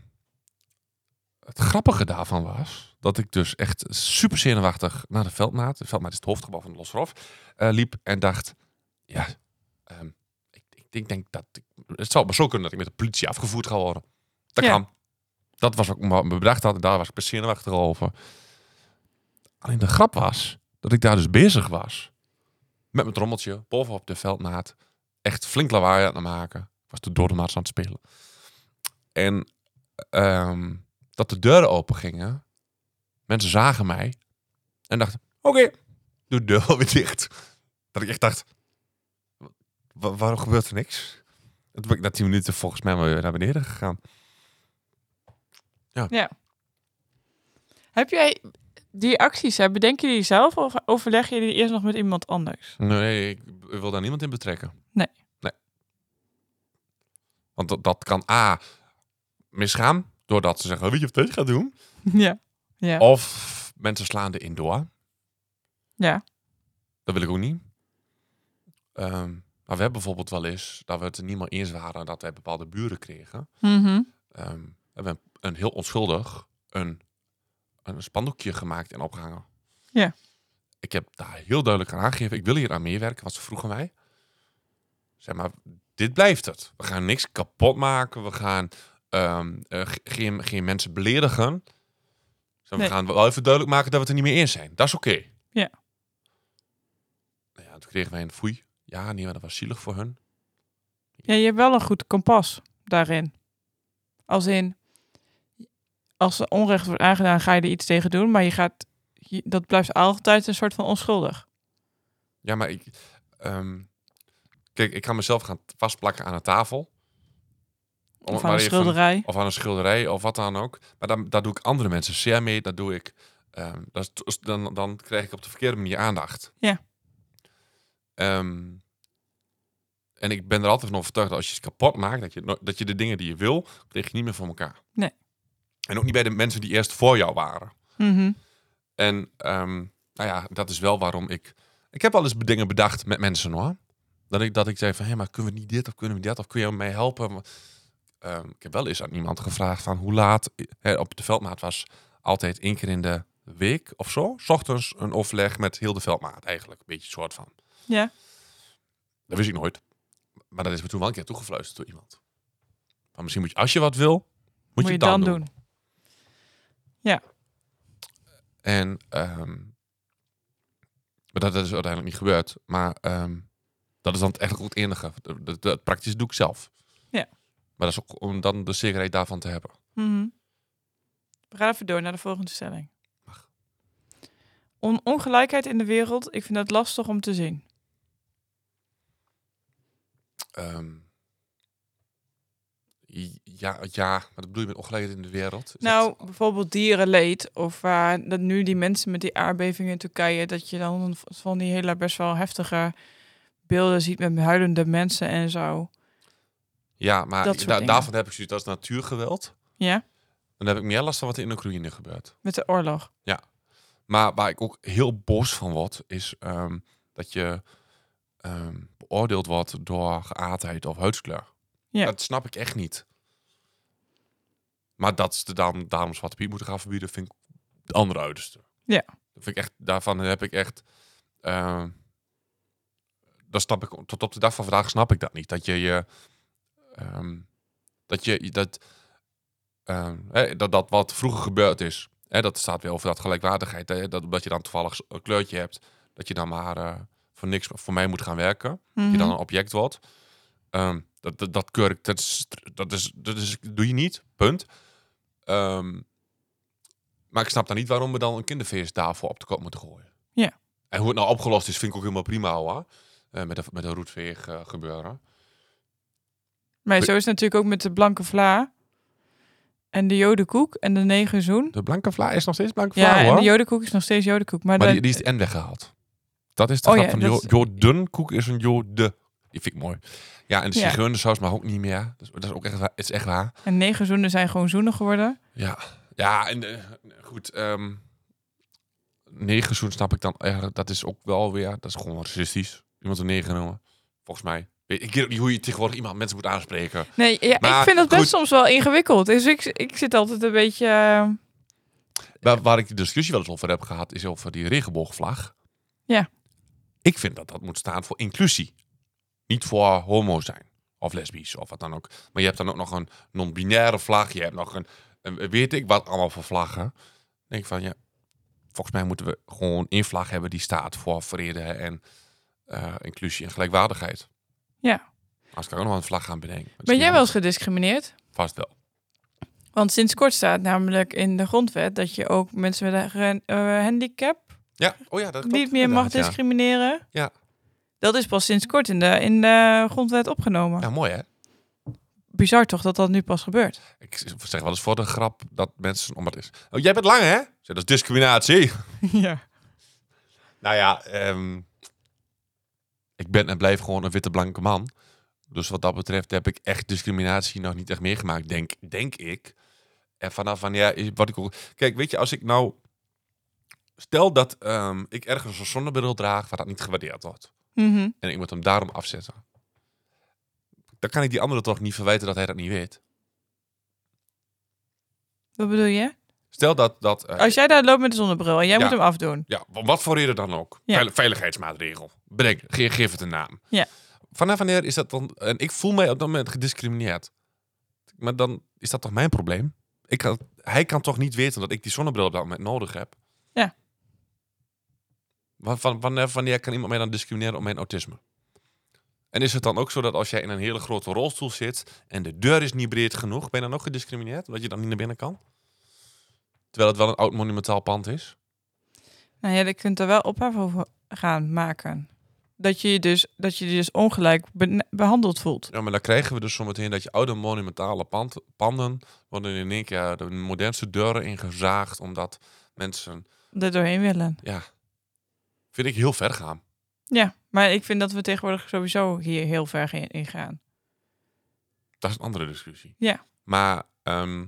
A: het grappige daarvan was dat ik dus echt super zenuwachtig naar de veldmaat, de veldmaat is het hoofdgebouw van de Losrof, eh, liep en dacht, ja, ehm, ik, ik, denk- denk dat ik, het zou maar zo kunnen dat ik met de politie afgevoerd ga worden. Dat
C: Ja.
A: kan. Dat was wat ik me bedacht had en daar was ik best zenuwachtig over. Alleen de grap was dat ik daar dus bezig was met mijn trommeltje bovenop de veldmaat, echt flink lawaai aan het maken. Ik was de dodenmaats aan het spelen. En ehm, dat de deuren open gingen. Mensen zagen mij en dachten: Oké, doe de deur wel weer dicht. Dat ik echt dacht: "Wa- Waarom gebeurt er niks? En toen ben ik na 10 minuten volgens mij maar weer naar beneden gegaan.
C: Heb jij die acties, hè, bedenk je die zelf of overleg je die eerst nog met iemand anders?
A: Nee, ik wil daar niemand in betrekken.
C: Nee.
A: Nee. Want dat, dat kan A. misgaan, doordat ze zeggen: Weet je wat dit gaat doen?
C: Ja. Ja.
A: Of mensen slaan erin door.
C: Ja.
A: Dat wil ik ook niet. Ehm, maar we hebben bijvoorbeeld wel eens dat we het er niet meer eens waren dat wij bepaalde buren kregen.
C: Mhm.
A: Ehm, we hebben een, een heel onschuldig een, een spandoekje gemaakt en opgehangen.
C: Ja.
A: Ik heb daar heel duidelijk aan aangegeven. Ik wil hier aan meewerken, want ze vroegen mij. Zeg maar, dit blijft het. We gaan niks kapot maken. We gaan ehm, eh, ge- geen, geen mensen beledigen. Zeg,
C: Nee.
A: We gaan wel even duidelijk maken dat we het er niet meer eens zijn. Dat is oké.
C: Ja.
A: Nou ja, toen kregen wij een foei. Ja, nee, maar dat was zielig voor hun.
C: Ja, je hebt wel een goed kompas daarin. Als in, als er onrecht wordt aangedaan, ga je er iets tegen doen, maar je gaat, je- dat blijft altijd een soort van onschuldig.
A: Ja, maar ik... ehm, kijk, ik kan mezelf gaan vastplakken aan een tafel. Om
C: Of
A: het
C: aan een
A: maar even-
C: schilderij.
A: of aan een schilderij of wat dan ook. Maar daar, daar doe ik andere mensen zeer mee. Dat doe ik. ehm, dat is to- dan, dan krijg ik op de verkeerde manier aandacht.
C: Ja.
A: Ehm, en ik ben er altijd van overtuigd dat als je iets kapot maakt, dat je, no- dat je de dingen die je wil, krijg je niet meer voor elkaar.
C: Nee.
A: En ook niet bij de mensen die eerst voor jou waren.
C: Mhm.
A: En ehm, nou ja, dat is wel waarom ik. Ik heb al eens dingen bedacht met mensen hoor. Dat ik, dat ik zei van, hé, maar kunnen we niet dit of kunnen we dat of kun je mij helpen? Maar, ehm, ik heb wel eens aan iemand gevraagd van hoe laat. Hè, op de veldmaat was altijd één keer in de week of zo. 's ochtends een overleg met heel de veldmaat eigenlijk. Een beetje een soort van.
C: Ja.
A: Dat wist ik nooit. Maar dat is me toen wel een keer toegefluisterd door iemand. Maar misschien moet je, als je wat wil, moet,
C: Moet
A: je het dan, doen. En ehm, maar dat, dat is uiteindelijk niet gebeurd. Maar ehm, dat is dan eigenlijk ook het enige. Dat, dat- dat praktisch doe ik zelf.
C: Ja.
A: Maar dat is ook om dan de zekerheid daarvan te hebben.
C: Mhm. We gaan even door naar de volgende stelling.
A: Mag.
C: On- ongelijkheid in de wereld, ik vind dat lastig om te zien.
A: Ehm, i- ja, ja, maar dat bedoel je met ongelijkheid in de wereld? Is
C: Nou,
A: dat-
C: bijvoorbeeld dierenleed. Of waar dat nu die mensen met die aardbevingen in Turkije. dat je dan van die hele best wel heftige beelden ziet met huilende mensen en zo.
A: ja, maar
C: dat soort
A: da-
C: dingen.
A: daarvan heb ik zoiets. Dat is natuurgeweld.
C: Ja,
A: Dan heb ik meer last van wat er in Oekraïne gebeurt.
C: met de oorlog.
A: Maar waar ik ook heel bos van word, is ehm, dat je ehm, beoordeeld wordt door geaardheid of huidskleur.
C: Ja.
A: Dat snap ik echt niet. Maar dat ze de daarom, daarom Zwarte Piet moeten gaan verbieden, vind ik de andere uiterste.
C: Ja.
A: Dat vind ik echt, daarvan heb ik echt... ehm dat snap ik, tot op de dag van vandaag snap ik dat niet. Dat je je... ehm, dat je... Dat, ehm, hè, dat, dat wat vroeger gebeurd is, Hè, dat staat weer over dat gelijkwaardigheid. Hè, dat omdat je dan toevallig s- een kleurtje hebt, dat je dan maar eh, voor niks voor mij moet gaan werken. Dat
C: Mhm.
A: je dan een object wordt. Ehm, dat, dat, dat keur ik. Dat, is, dat, is, dat is, doe je niet. Punt. Ehm, maar ik snap dan niet waarom we dan een kinderfeest daarvoor op de kop moeten gooien.
C: Ja.
A: En hoe het nou opgelost is, vind ik ook helemaal prima hoor. Eh, met, een, met een roetveeg eh, gebeuren.
C: Maar zo is het natuurlijk ook met de blanke vla en de jodenkoek en de negenzoen.
A: De blanke vla is nog steeds blanke vla
C: Ja, en
A: hoor.
C: de jodenkoek is nog steeds jodenkoek. Maar,
A: Maar
C: dan-
A: die, die is de N weggehaald. Dat is de
C: Oh
A: grap
C: ja,
A: van
C: dat
A: jo
C: is-
A: Jordenkoek is een Jode. Die vind ik mooi. Ja, en de
C: Ja.
A: zigeunersaus mag ook niet meer. Dat is, dat is ook echt, wa- het is echt waar.
C: en negenzoenen zijn gewoon zoenen geworden.
A: Ja, ja en eh, goed. ehm negerzoen snap ik dan. eigenlijk. dat is ook wel weer... Dat is gewoon racistisch. Iemand een neger noemen. Volgens mij. Ik ik weet ook niet hoe je tegenwoordig iemand mensen moet aanspreken.
C: Nee, ja,
A: Maar
C: ik vind dat best
A: goed.
C: soms wel ingewikkeld. Dus ik, ik zit altijd een beetje... eh,
A: Waar, waar ik de discussie wel eens over heb gehad, is over die regenboogvlag.
C: Ja.
A: Ik vind dat dat moet staan voor inclusie. Niet voor homo zijn. Of lesbisch, of wat dan ook. Maar je hebt dan ook nog een non-binaire vlag. Je hebt nog een, een weet ik wat allemaal voor vlaggen. Dan denk ik van, ja, volgens mij moeten we gewoon één vlag hebben die staat voor vrede en eh, inclusie en gelijkwaardigheid.
C: Ja.
A: Als ik ook nog een vlag gaan bedenken. Dat is
C: ben
A: niet
C: jij wel eens
A: handig.
C: gediscrimineerd?
A: Vast wel.
C: Want sinds kort staat namelijk in de grondwet dat je ook mensen met een gehan- eh, handicap
A: Ja, oh ja, dat klopt
C: niet meer mag
A: inderdaad, ja.
C: discrimineren.
A: Ja.
C: Dat is pas sinds kort in de, in de grondwet opgenomen.
A: Ja, mooi hè?
C: Bizar toch dat dat nu pas gebeurt.
A: [LAUGHS] Ik zeg wel eens voor de grap dat mensen om het is. Oh, jij bent lang, hè? Ik zeg, Dat is discriminatie. [LAUGHS]
C: ja.
A: Nou ja, ehm, ik ben en blijf gewoon een witte blanke man. Dus wat dat betreft heb ik echt discriminatie nog niet echt meegemaakt, denk, denk ik. En vanaf wanneer, is- wat ik ook... Kijk, weet je, als ik nou... Stel dat ehm, ik ergens een zonnebril draag waar dat niet gewaardeerd wordt.
C: Mhm.
A: En ik moet hem daarom afzetten. Dan kan ik die andere toch niet verwijten dat hij dat niet weet.
C: Wat bedoel je?
A: Stel dat... dat eh,
C: Als jij daar loopt met de zonnebril en jij
A: Ja.
C: moet hem afdoen.
A: Ja, wa- wat voor reden dan ook.
C: Ja.
A: Veil- veiligheidsmaatregel. Bedenk, geef, geef het een naam.
C: Ja.
A: Vanaf wanneer is dat dan... En ik voel mij op dat moment gediscrimineerd. Maar dan is dat toch mijn probleem? Ik kan, hij kan toch niet weten dat ik die zonnebril op dat moment nodig heb?
C: Ja.
A: Wa- Van, wanneer, wanneer kan iemand mij dan discrimineren om mijn autisme? En is het dan ook zo dat als jij in een hele grote rolstoel zit... en de deur is niet breed genoeg, ben je dan ook gediscrimineerd? Omdat je dan niet naar binnen kan? Terwijl het wel een oud monumentaal pand is?
C: Nou ja, je kunt er wel ophef over gaan maken. Dat je je dus, dat je je dus ongelijk bene- behandeld voelt.
A: Ja, maar dan krijgen we dus zometeen dat je oude monumentale pand, panden worden in één keer de modernste deuren ingezaagd, omdat mensen,
C: Er doorheen willen.
A: ja, vind ik heel ver gaan.
C: Ja, maar ik vind dat we tegenwoordig sowieso hier heel ver in in gaan.
A: Dat is een andere discussie.
C: Ja.
A: Maar ehm,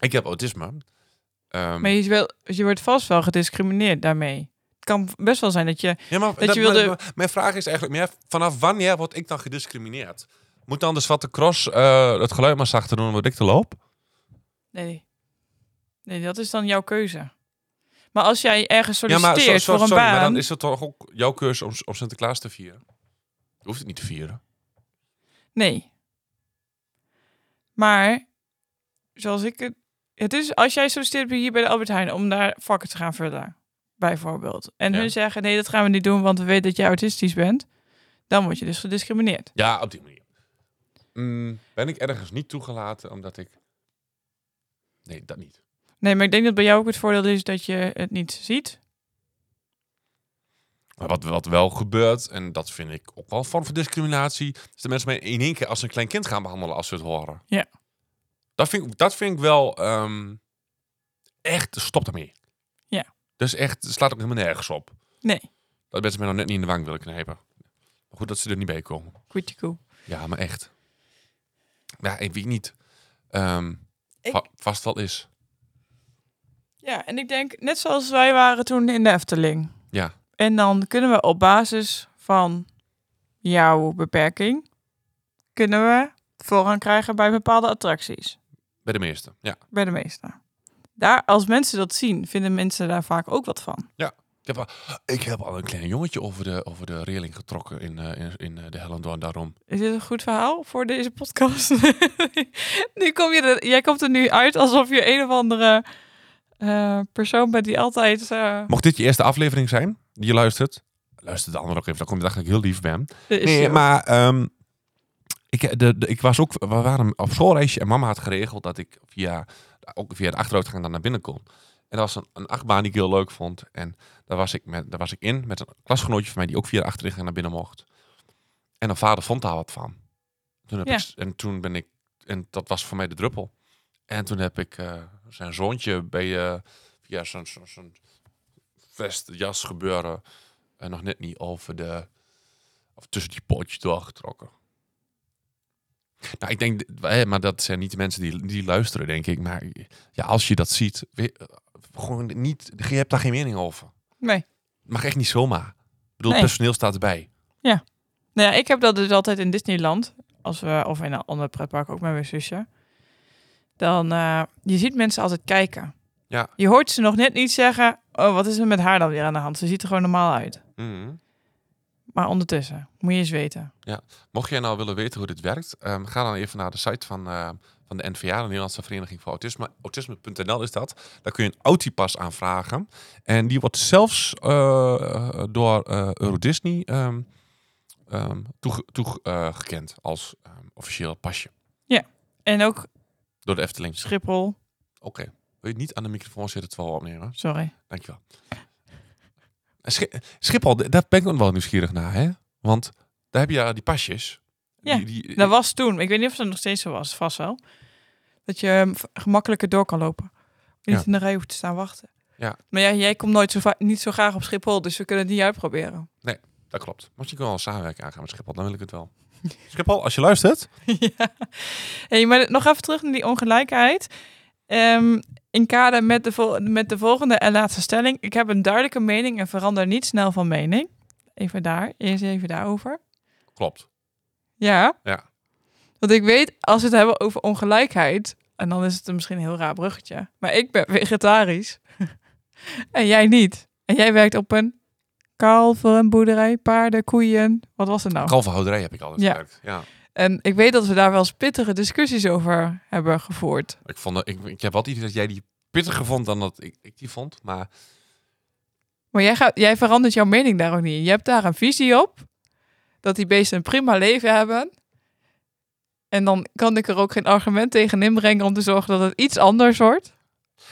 A: ik heb autisme. Ehm,
C: Maar je, is wel, je wordt vast wel gediscrimineerd daarmee. Het kan best wel zijn dat je...
A: ja, maar
C: dat je
A: maar-
C: wilde-
A: maar mijn vraag is eigenlijk meer, vanaf wanneer word ik dan gediscrimineerd? Moet dan de Zwarte Cross eh, het geluid maar zachter doen omdat ik te loop?
C: Nee. Nee, dat is dan jouw keuze. Maar als jij ergens
A: Ja, maar,
C: solliciteert
A: zo- zo-
C: voor een
A: sorry,
C: baan...
A: maar dan is het toch ook jouw keuze om, om Sinterklaas te vieren? Je hoeft het niet te vieren.
C: Nee. Maar, zoals ik het... Het is als jij solliciteert hier bij de Albert Heijn om daar vakken te gaan vullen, bijvoorbeeld. En
A: Ja.
C: hun zeggen, nee, dat gaan we niet doen, want we weten dat jij autistisch bent. Dan word je dus gediscrimineerd.
A: Ja, op die manier. Mm, ben ik ergens niet toegelaten omdat ik. Nee, dat niet.
C: Nee, maar ik denk dat bij jou ook het voordeel is dat je het niet ziet.
A: Maar wat, wat wel gebeurt, en dat vind ik ook wel een vorm van discriminatie, is dat mensen mij in één keer als een klein kind gaan behandelen als ze het horen.
C: Ja.
A: Dat vind, ik- dat vind ik wel ehm, echt, stop daarmee.
C: Ja.
A: Dus echt, het slaat ook helemaal nergens op.
C: Nee.
A: Dat mensen mij nog net niet in de wang willen knijpen. Maar goed dat ze er niet bij komen.
C: Quitty koe.
A: Ja, maar echt. Ja, ik weet niet. Ehm,
C: Ik-
A: va- vast wel is.
C: Ja, en ik denk, net zoals wij waren toen in de Efteling.
A: Ja.
C: En dan kunnen we op basis van jouw beperking, kunnen we voorrang krijgen bij bepaalde attracties.
A: Bij de meeste. Ja.
C: Bij de meeste. Daar, als mensen dat zien, vinden mensen daar vaak ook wat van.
A: Ik heb, al, ik heb al een klein jongetje over de, over de reling getrokken in, eh, in, in eh, de Hellendoorn daarom.
C: Is dit een goed verhaal voor deze podcast? [LAUGHS] nu kom je er, jij komt er nu uit alsof je een of andere eh, persoon bent die altijd... eh,
A: Mocht dit je eerste aflevering zijn, die je luistert, luister de andere ook even. Dan kom je dacht ik heel lief ben.
C: de
A: Nee,
C: issue.
A: maar ehm, ik, de, de- ik was ook, we waren op schoolreisje en mama had geregeld dat ik via, ook via de achteruitgang dan naar binnen kon. En dat was een, een achtbaan die ik heel leuk vond. En daar was, ik met, daar was ik in met een klasgenootje van mij die ook via de achteruitgang naar binnen mocht. En een vader vond daar wat van. Toen heb
C: Ja.
A: ik, s- en toen ben ik, en dat was voor mij de druppel. En toen heb ik eh, zijn zoontje bij, eh, via zo'n zo'n- zo'n vest, jas gebeuren, eh, nog net niet over de of tussen die pootjes doorgetrokken. Nou, ik denk, hè, maar dat zijn niet de mensen die, die luisteren, denk ik. Maar ja, als je dat ziet, we- eh, gewoon niet, je hebt daar geen mening over.
C: Nee.
A: Mag echt niet zomaar. Ik bedoel,
C: Nee.
A: personeel staat erbij.
C: Nou ja, ik heb dat dus altijd in Disneyland. Als we, of in een ander pretpark, ook met mijn zusje. Dan, eh, je ziet mensen altijd kijken.
A: Ja.
C: Je hoort ze nog net niet zeggen, oh, wat is er met haar dan weer aan de hand? Ze ziet er gewoon normaal uit. Maar ondertussen, moet je eens weten.
A: Mocht jij nou willen weten hoe dit werkt, ehm, ga dan even naar de site van, ehm, van de NVA, de Nederlandse Vereniging voor Autisme. Autisme.nl is dat. Daar kun je een autipas aanvragen. En die wordt zelfs eh, door eh, Euro Disney ehm, ehm, toege- toegekend als ehm, officieel pasje.
C: En ook
A: Door de Efteling.
C: Schiphol.
A: Oké. Wil je niet aan de microfoon zitten terwijl we opnemen?
C: Sorry.
A: Dankjewel. Schi- Schiphol, d- daar ben ik ook wel nieuwsgierig naar, hè? Want daar heb je ja die pasjes.
C: Ja,
A: Die- die-
C: Dat was toen. Ik weet niet of dat nog steeds zo was. Vast wel. Dat je ehm, v- gemakkelijker door kan lopen. Je
A: Ja.
C: Niet in de rij hoeft te staan wachten.
A: Ja.
C: Maar ja, jij komt nooit zo va- niet zo graag op Schiphol, dus we kunnen het niet uitproberen.
A: Dat klopt. Mocht je wel een samenwerking aangaan met Schiphol, dan wil ik het wel. [LAUGHS] Schiphol, als je luistert.
C: ja. Hey, maar nog even terug naar die ongelijkheid. Ehm, in kader met de, vol- met de volgende en laatste stelling. Ik heb een duidelijke mening en verander niet snel van mening. Even daar, eerst even daarover.
A: Klopt.
C: Ja.
A: Ja.
C: Want ik weet, als we het hebben over ongelijkheid, en dan is het een misschien een heel raar bruggetje, maar ik ben vegetarisch [LAUGHS] en jij niet. En jij werkt op een kalverenboerderij, paarden, koeien, wat was het nou?
A: Kalverhouderij heb ik altijd
C: Ja.
A: gebruikt. Ja.
C: En ik weet dat we daar wel eens pittige discussies over hebben gevoerd.
A: Ik, vond, dat- ik, ik heb altijd idee dat jij die pittiger vond dan dat ik, ik die vond. Maar
C: Maar jij, gaat, jij verandert jouw mening daar ook niet in. Je hebt daar een visie op. Dat die beesten een prima leven hebben. En dan kan ik er ook geen argument tegen inbrengen om te zorgen dat het iets anders wordt.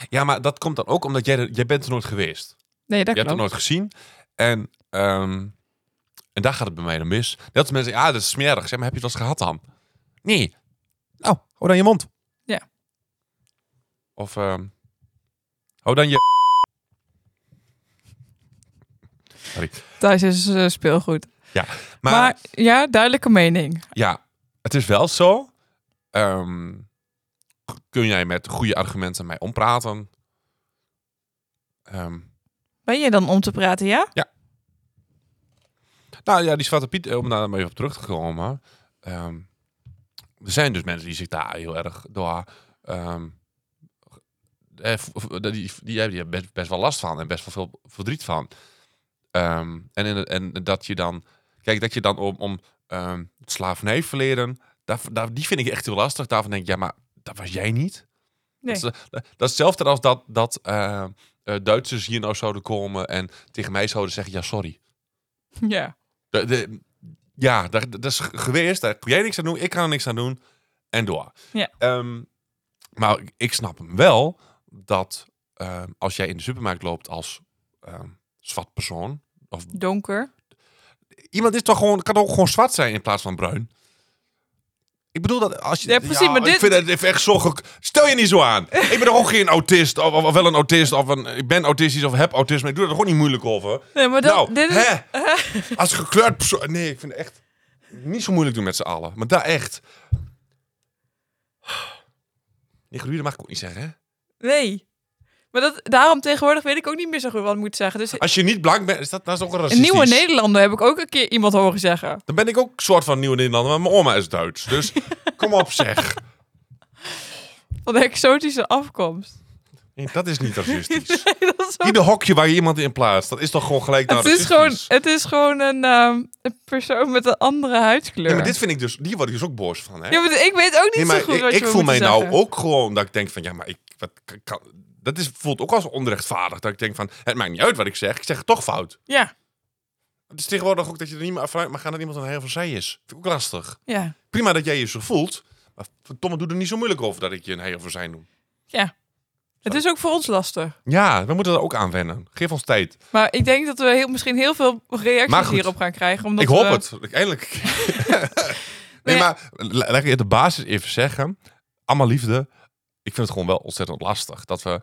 A: ja, maar dat komt dan ook omdat jij, er- jij bent er nooit geweest.
C: Nee, dat
A: je hebt
C: klopt.
A: er nooit gezien. En, ehm, en daar gaat het bij mij dan mis. Net als mensen, ja, dat is smerig. Zeg maar, heb je dat eens gehad dan? Nee. Nou, hou dan je mond.
C: Ja.
A: Of ehm, hou dan je...
C: Thuis is eh, speelgoed. Maar, ja, duidelijke mening.
A: Ja, het is wel zo. Ehm, k- kun jij met goede argumenten mij ompraten? Ehm,
C: Ben je dan om te praten, ja?
A: nou ja, die Zwarte Piet, eh, om daar maar even op terug te komen. ehm, er zijn dus mensen die zich daar heel erg door... ehm, eh, v- v- die, die, die hebben er best, best wel last van en best wel veel verdriet van. Ehm, en, in, het- en dat je dan... Kijk, dat je dan om, om ehm, het slavernijverleden... Daar, daar, die vind ik echt heel lastig. Daarvan denk ik, ja, maar dat was jij niet?
C: Nee.
A: Dat, is, dat is hetzelfde als dat, dat eh, eh, Duitsers hier nou zouden komen en tegen mij zouden zeggen, ja, sorry. eh,
C: Ja.
A: De, de- ja, dat, dat is geweest. Daar kun jij niks aan doen, ik kan er niks aan doen. En door.
C: Ja.
A: Ehm, maar ik- ik snap hem wel dat ehm, als jij in de supermarkt loopt als ehm, zwart persoon. Of,
C: Donker.
A: iemand is toch gewoon, kan ook gewoon zwart zijn in plaats van bruin. Ik bedoel dat als je.
C: Ja, precies, maar
A: Ik
C: dit-
A: vind het echt zo. gek- Stel je niet zo aan. Ik ben toch ook geen autist. Of, of, of wel een autist. Of een, ik ben autistisch of heb autisme. Ik doe er gewoon niet moeilijk over.
C: Nee, maar dat,
A: nou,
C: dit is...
A: hè?
C: [LAUGHS]
A: Als gekleurd persoon. Nee, ik vind het echt niet zo moeilijk doen met z'n allen. Maar daar echt. Inclusief, dat mag ik ook niet zeggen. Hè?
C: Nee. Maar dat, daarom tegenwoordig weet ik ook niet meer zo goed wat ik moet zeggen. Dus
A: Als je niet blank bent, is dat, dat is ook
C: een
A: racistisch.
C: nieuwe Nederlander heb ik ook een keer iemand horen zeggen.
A: Dan ben ik ook soort van nieuwe Nederlander, maar mijn oma is Duits.
C: [LAUGHS]
A: Dus kom op zeg.
C: Van de exotische afkomst. [LAUGHS]
A: Dat is niet racistisch.
C: dat is ook-
A: Ieder hokje waar je iemand in plaatst, dat is dus- toch gewoon gelijk naar
C: het, is gewoon,
A: racistisch?
C: het is gewoon een, ehm, een persoon met een andere huidskleur.
A: Ja, maar dit vind ik dus, hier word ik dus ook boos van. Hè?
C: Ja, maar ik weet ook niet
A: Nee, maar
C: zo goed
A: ik,
C: wat je
A: ik
C: moet
A: voel mij
C: zeggen.
A: nou ook gewoon dat ik denk van ja, maar ik wat k- kan, dat is voelt ook als onrechtvaardig dat ik denk van het maakt niet uit wat ik zeg, ik zeg het toch fout.
C: Ja,
A: Het is tegenwoordig ook dat je er niet meer vanuit mag gaan dat iemand een heel van zij is. Vind ik ook lastig.
C: ja.
A: Prima dat jij je zo voelt, maar verdomme doe er niet zo moeilijk over dat ik je een heel van zij noem.
C: Het is ook voor ons lastig.
A: Ja, we moeten er ook aan wennen. Geef ons tijd.
C: Maar ik denk dat we heel, misschien heel veel
A: Maar
C: reacties
A: goed.
C: hierop gaan krijgen. Omdat
A: ik hoop
C: we-
A: het. Ik- Eindelijk.
C: [LAUGHS]
A: nee,
C: Nee.
A: maar la- laat ik het de basis even zeggen. Allemaal liefde. Ik vind het gewoon wel ontzettend lastig dat we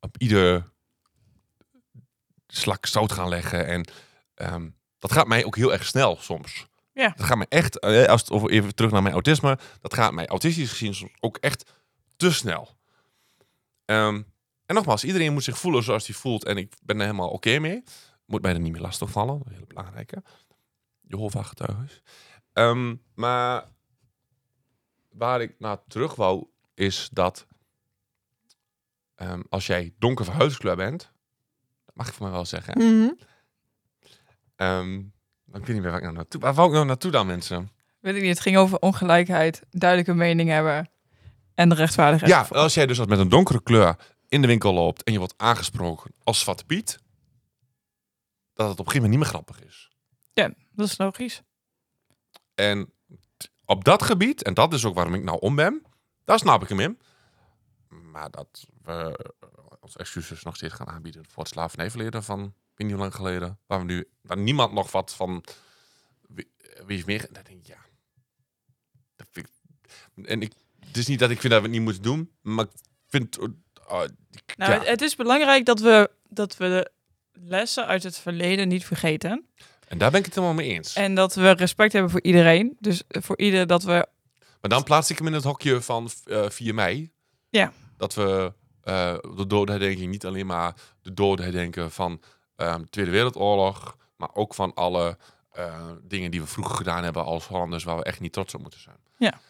A: op ieder slak zout gaan leggen. En ehm, dat gaat mij ook heel erg snel soms.
C: Ja.
A: Dat gaat mij echt, eh, als het over even terug naar mijn autisme, dat gaat mij autistisch gezien soms ook echt te snel. Ehm, en nogmaals, iedereen moet zich voelen zoals hij voelt. En ik ben er helemaal oké mee. Moet mij er niet meer lastig vallen. Dat is een hele belangrijke. Jehovah-getuigen. Ehm, maar waar ik naar terug wou, is dat ehm, als jij donker van huidskleur bent, dat mag ik voor mij wel zeggen.
C: Mhm.
A: Ehm, maar ik weet niet meer waar ik nou naartoe... Waar wou ik nou naartoe dan, mensen?
C: Weet ik niet. Het ging over ongelijkheid, duidelijke mening hebben en de rechtvaardigheid.
A: Ja, als jij dus als met een donkere kleur in de winkel loopt en je wordt aangesproken als Zwarte Piet, dat het op een gegeven moment niet meer grappig is.
C: Ja, dat is logisch.
A: En t- op dat gebied, en dat is ook waarom ik nou om ben, daar snap ik hem in. Maar dat we onze excuses nog steeds gaan aanbieden voor het slavernijverleden van ik weet niet hoe lang geleden, waar we nu, waar niemand nog wat van wie, wie is meer. En dan denk ik, ja. Dat vind ik- en ik, het is niet dat ik vind dat we het niet moeten doen, maar ik vind. eh, ah, ik-
C: Nou,
A: ja.
C: het, het is belangrijk dat we, dat we de lessen uit het verleden niet vergeten.
A: En daar ben ik het helemaal mee eens.
C: En dat we respect hebben voor iedereen. Dus voor ieder dat we...
A: Maar dan plaats ik hem in het hokje van eh 4 mei.
C: Ja.
A: Dat we eh, de doodherdenking niet alleen maar de dood herdenken van ehm, de Tweede Wereldoorlog, maar ook van alle eh, dingen die we vroeger gedaan hebben als Hollanders waar we echt niet trots op moeten zijn.
C: Ja.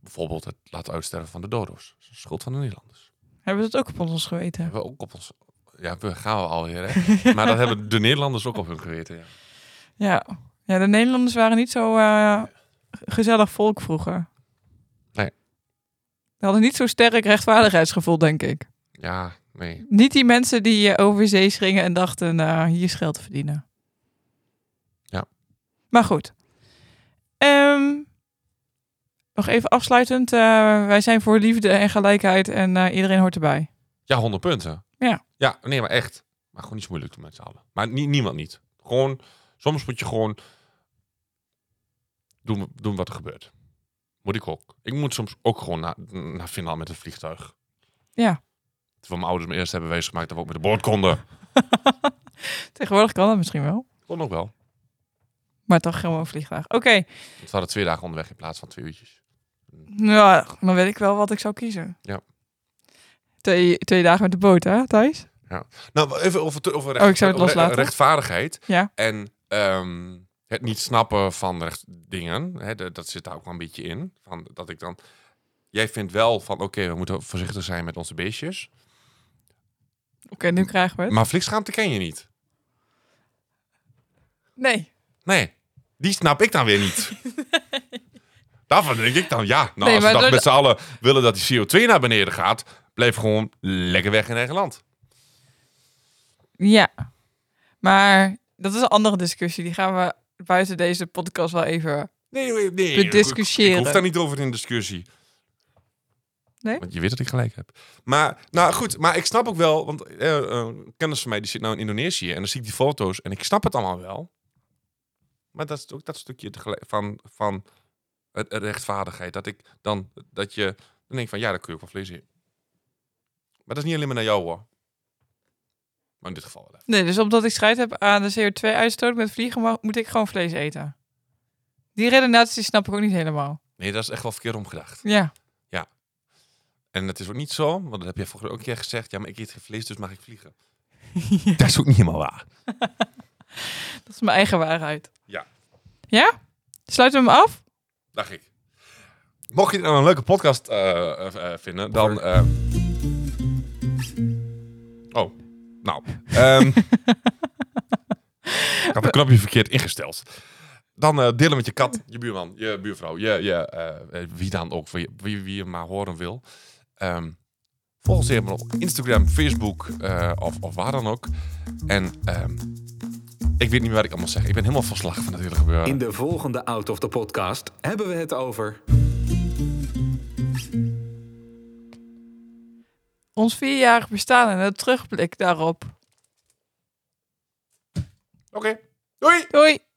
A: Bijvoorbeeld het laten uitsterven van de dodo's. Dat is de schuld van de Nederlanders.
C: Hebben we het ook op ons geweten?
A: Hebben we ook op ons... Ja, we gaan we alweer, hè? [LAUGHS] maar dat hebben de Nederlanders ook op hun geweten, ja.
C: Ja. Ja, de Nederlanders waren niet zo eh, gezellig volk vroeger.
A: Nee.
C: Ze hadden niet zo sterk rechtvaardigheidsgevoel, denk ik.
A: Ja, nee.
C: Niet die mensen die eh, over zee gingen en dachten, nou, hier is geld te verdienen.
A: Ja.
C: Maar goed. Ehm, nog even afsluitend. eh, wij zijn voor liefde en gelijkheid en eh, iedereen hoort erbij.
A: Ja, 100 punten.
C: Ja.
A: Ja, nee, maar echt. Maar gewoon niet zo moeilijk doen met z'n allen. Maar nie- niemand niet. Gewoon, soms moet je gewoon doen, doen wat er gebeurt. Moet ik ook. Ik moet soms ook gewoon naar, naar Finland met het vliegtuig.
C: Ja.
A: Terwijl mijn ouders me eerst hebben wees gemaakt dat we ook met de boord konden.
C: Tegenwoordig kan dat misschien wel.
A: Kon ook wel.
C: Maar toch gewoon vliegtuig. Oké,
A: Want we hadden twee dagen onderweg in plaats van twee uurtjes.
C: nou, dan weet ik wel wat ik zou kiezen.
A: Ja.
C: Twee, twee dagen met de boot, hè, Thijs?
A: Nou, even over, over,
C: Oh, ik zou het
A: over
C: loslaten.
A: rechtvaardigheid.
C: Ja.
A: En ehm, het niet snappen van recht, dingen. Hè, dat, dat zit daar ook wel een beetje in. Van, dat ik dan... Jij vindt wel van, oké, we moeten voorzichtig zijn met onze beestjes.
C: Oké, nu krijgen we het.
A: Maar vliegschaamte ken je niet.
C: Nee.
A: Nee, die snap ik dan weer
C: [LAUGHS]
A: niet. Daarvan denk ik dan, ja, nou,
C: Nee,
A: als we
C: maar
A: dat
C: door
A: met z'n allen willen dat die CO2 naar beneden gaat... blijf gewoon lekker weg in eigen land.
C: Ja, maar dat is een andere discussie. Die gaan we buiten deze podcast wel even.
A: Nee, nee, nee.
C: We
A: ik- ik- Ik,
C: discussiëren.
A: hoef daar niet over in discussie.
C: Nee?
A: Want je weet dat ik gelijk heb. Maar, nou goed, maar ik snap ook wel, want eh, eh, een kennis van mij die zit nou in Indonesië en dan zie ik die foto's en ik snap het allemaal wel. Maar dat is ook dat stukje tegelijk- van, van het- het rechtvaardigheid. Dat ik dan, dat je, dan denk ik van ja, daar kun je ook wel vlees in. Maar dat is niet alleen maar naar jou hoor. Maar in dit geval wel. even.
C: Nee, dus omdat ik strijd heb aan de CO2-uitstoot met vliegen, mag- moet ik gewoon vlees eten. Die redenatie snap ik ook niet helemaal.
A: Nee, dat is echt wel verkeerd omgedacht.
C: Ja.
A: En dat is ook niet zo, want dat heb jij volgens mij ook een keer gezegd. Ja, maar ik eet geen vlees, dus mag ik vliegen. Dat is ook niet helemaal waar.
C: Dat is mijn eigen waarheid.
A: Ja.
C: Ja? Sluiten we hem af?
A: Dacht ik. Mocht je dit nou een leuke podcast eh, eh, eh, vinden, dan... eh, Oh, nou. ehm, ik had een knopje verkeerd ingesteld. Dan eh, delen met je kat, je buurman, je buurvrouw, je, je, eh, eh, wie dan ook, wie, wie, wie je maar horen wil. Ehm, volg ons even op Instagram, Facebook eh, of, of waar dan ook. En ehm, ik weet niet meer wat ik allemaal zeg. Ik ben helemaal van slag van het hele gebeuren.
B: In de volgende Out of the Podcast hebben we het over...
C: Ons vierjarig bestaan en een terugblik daarop.
A: Oké, doei!
C: Doei!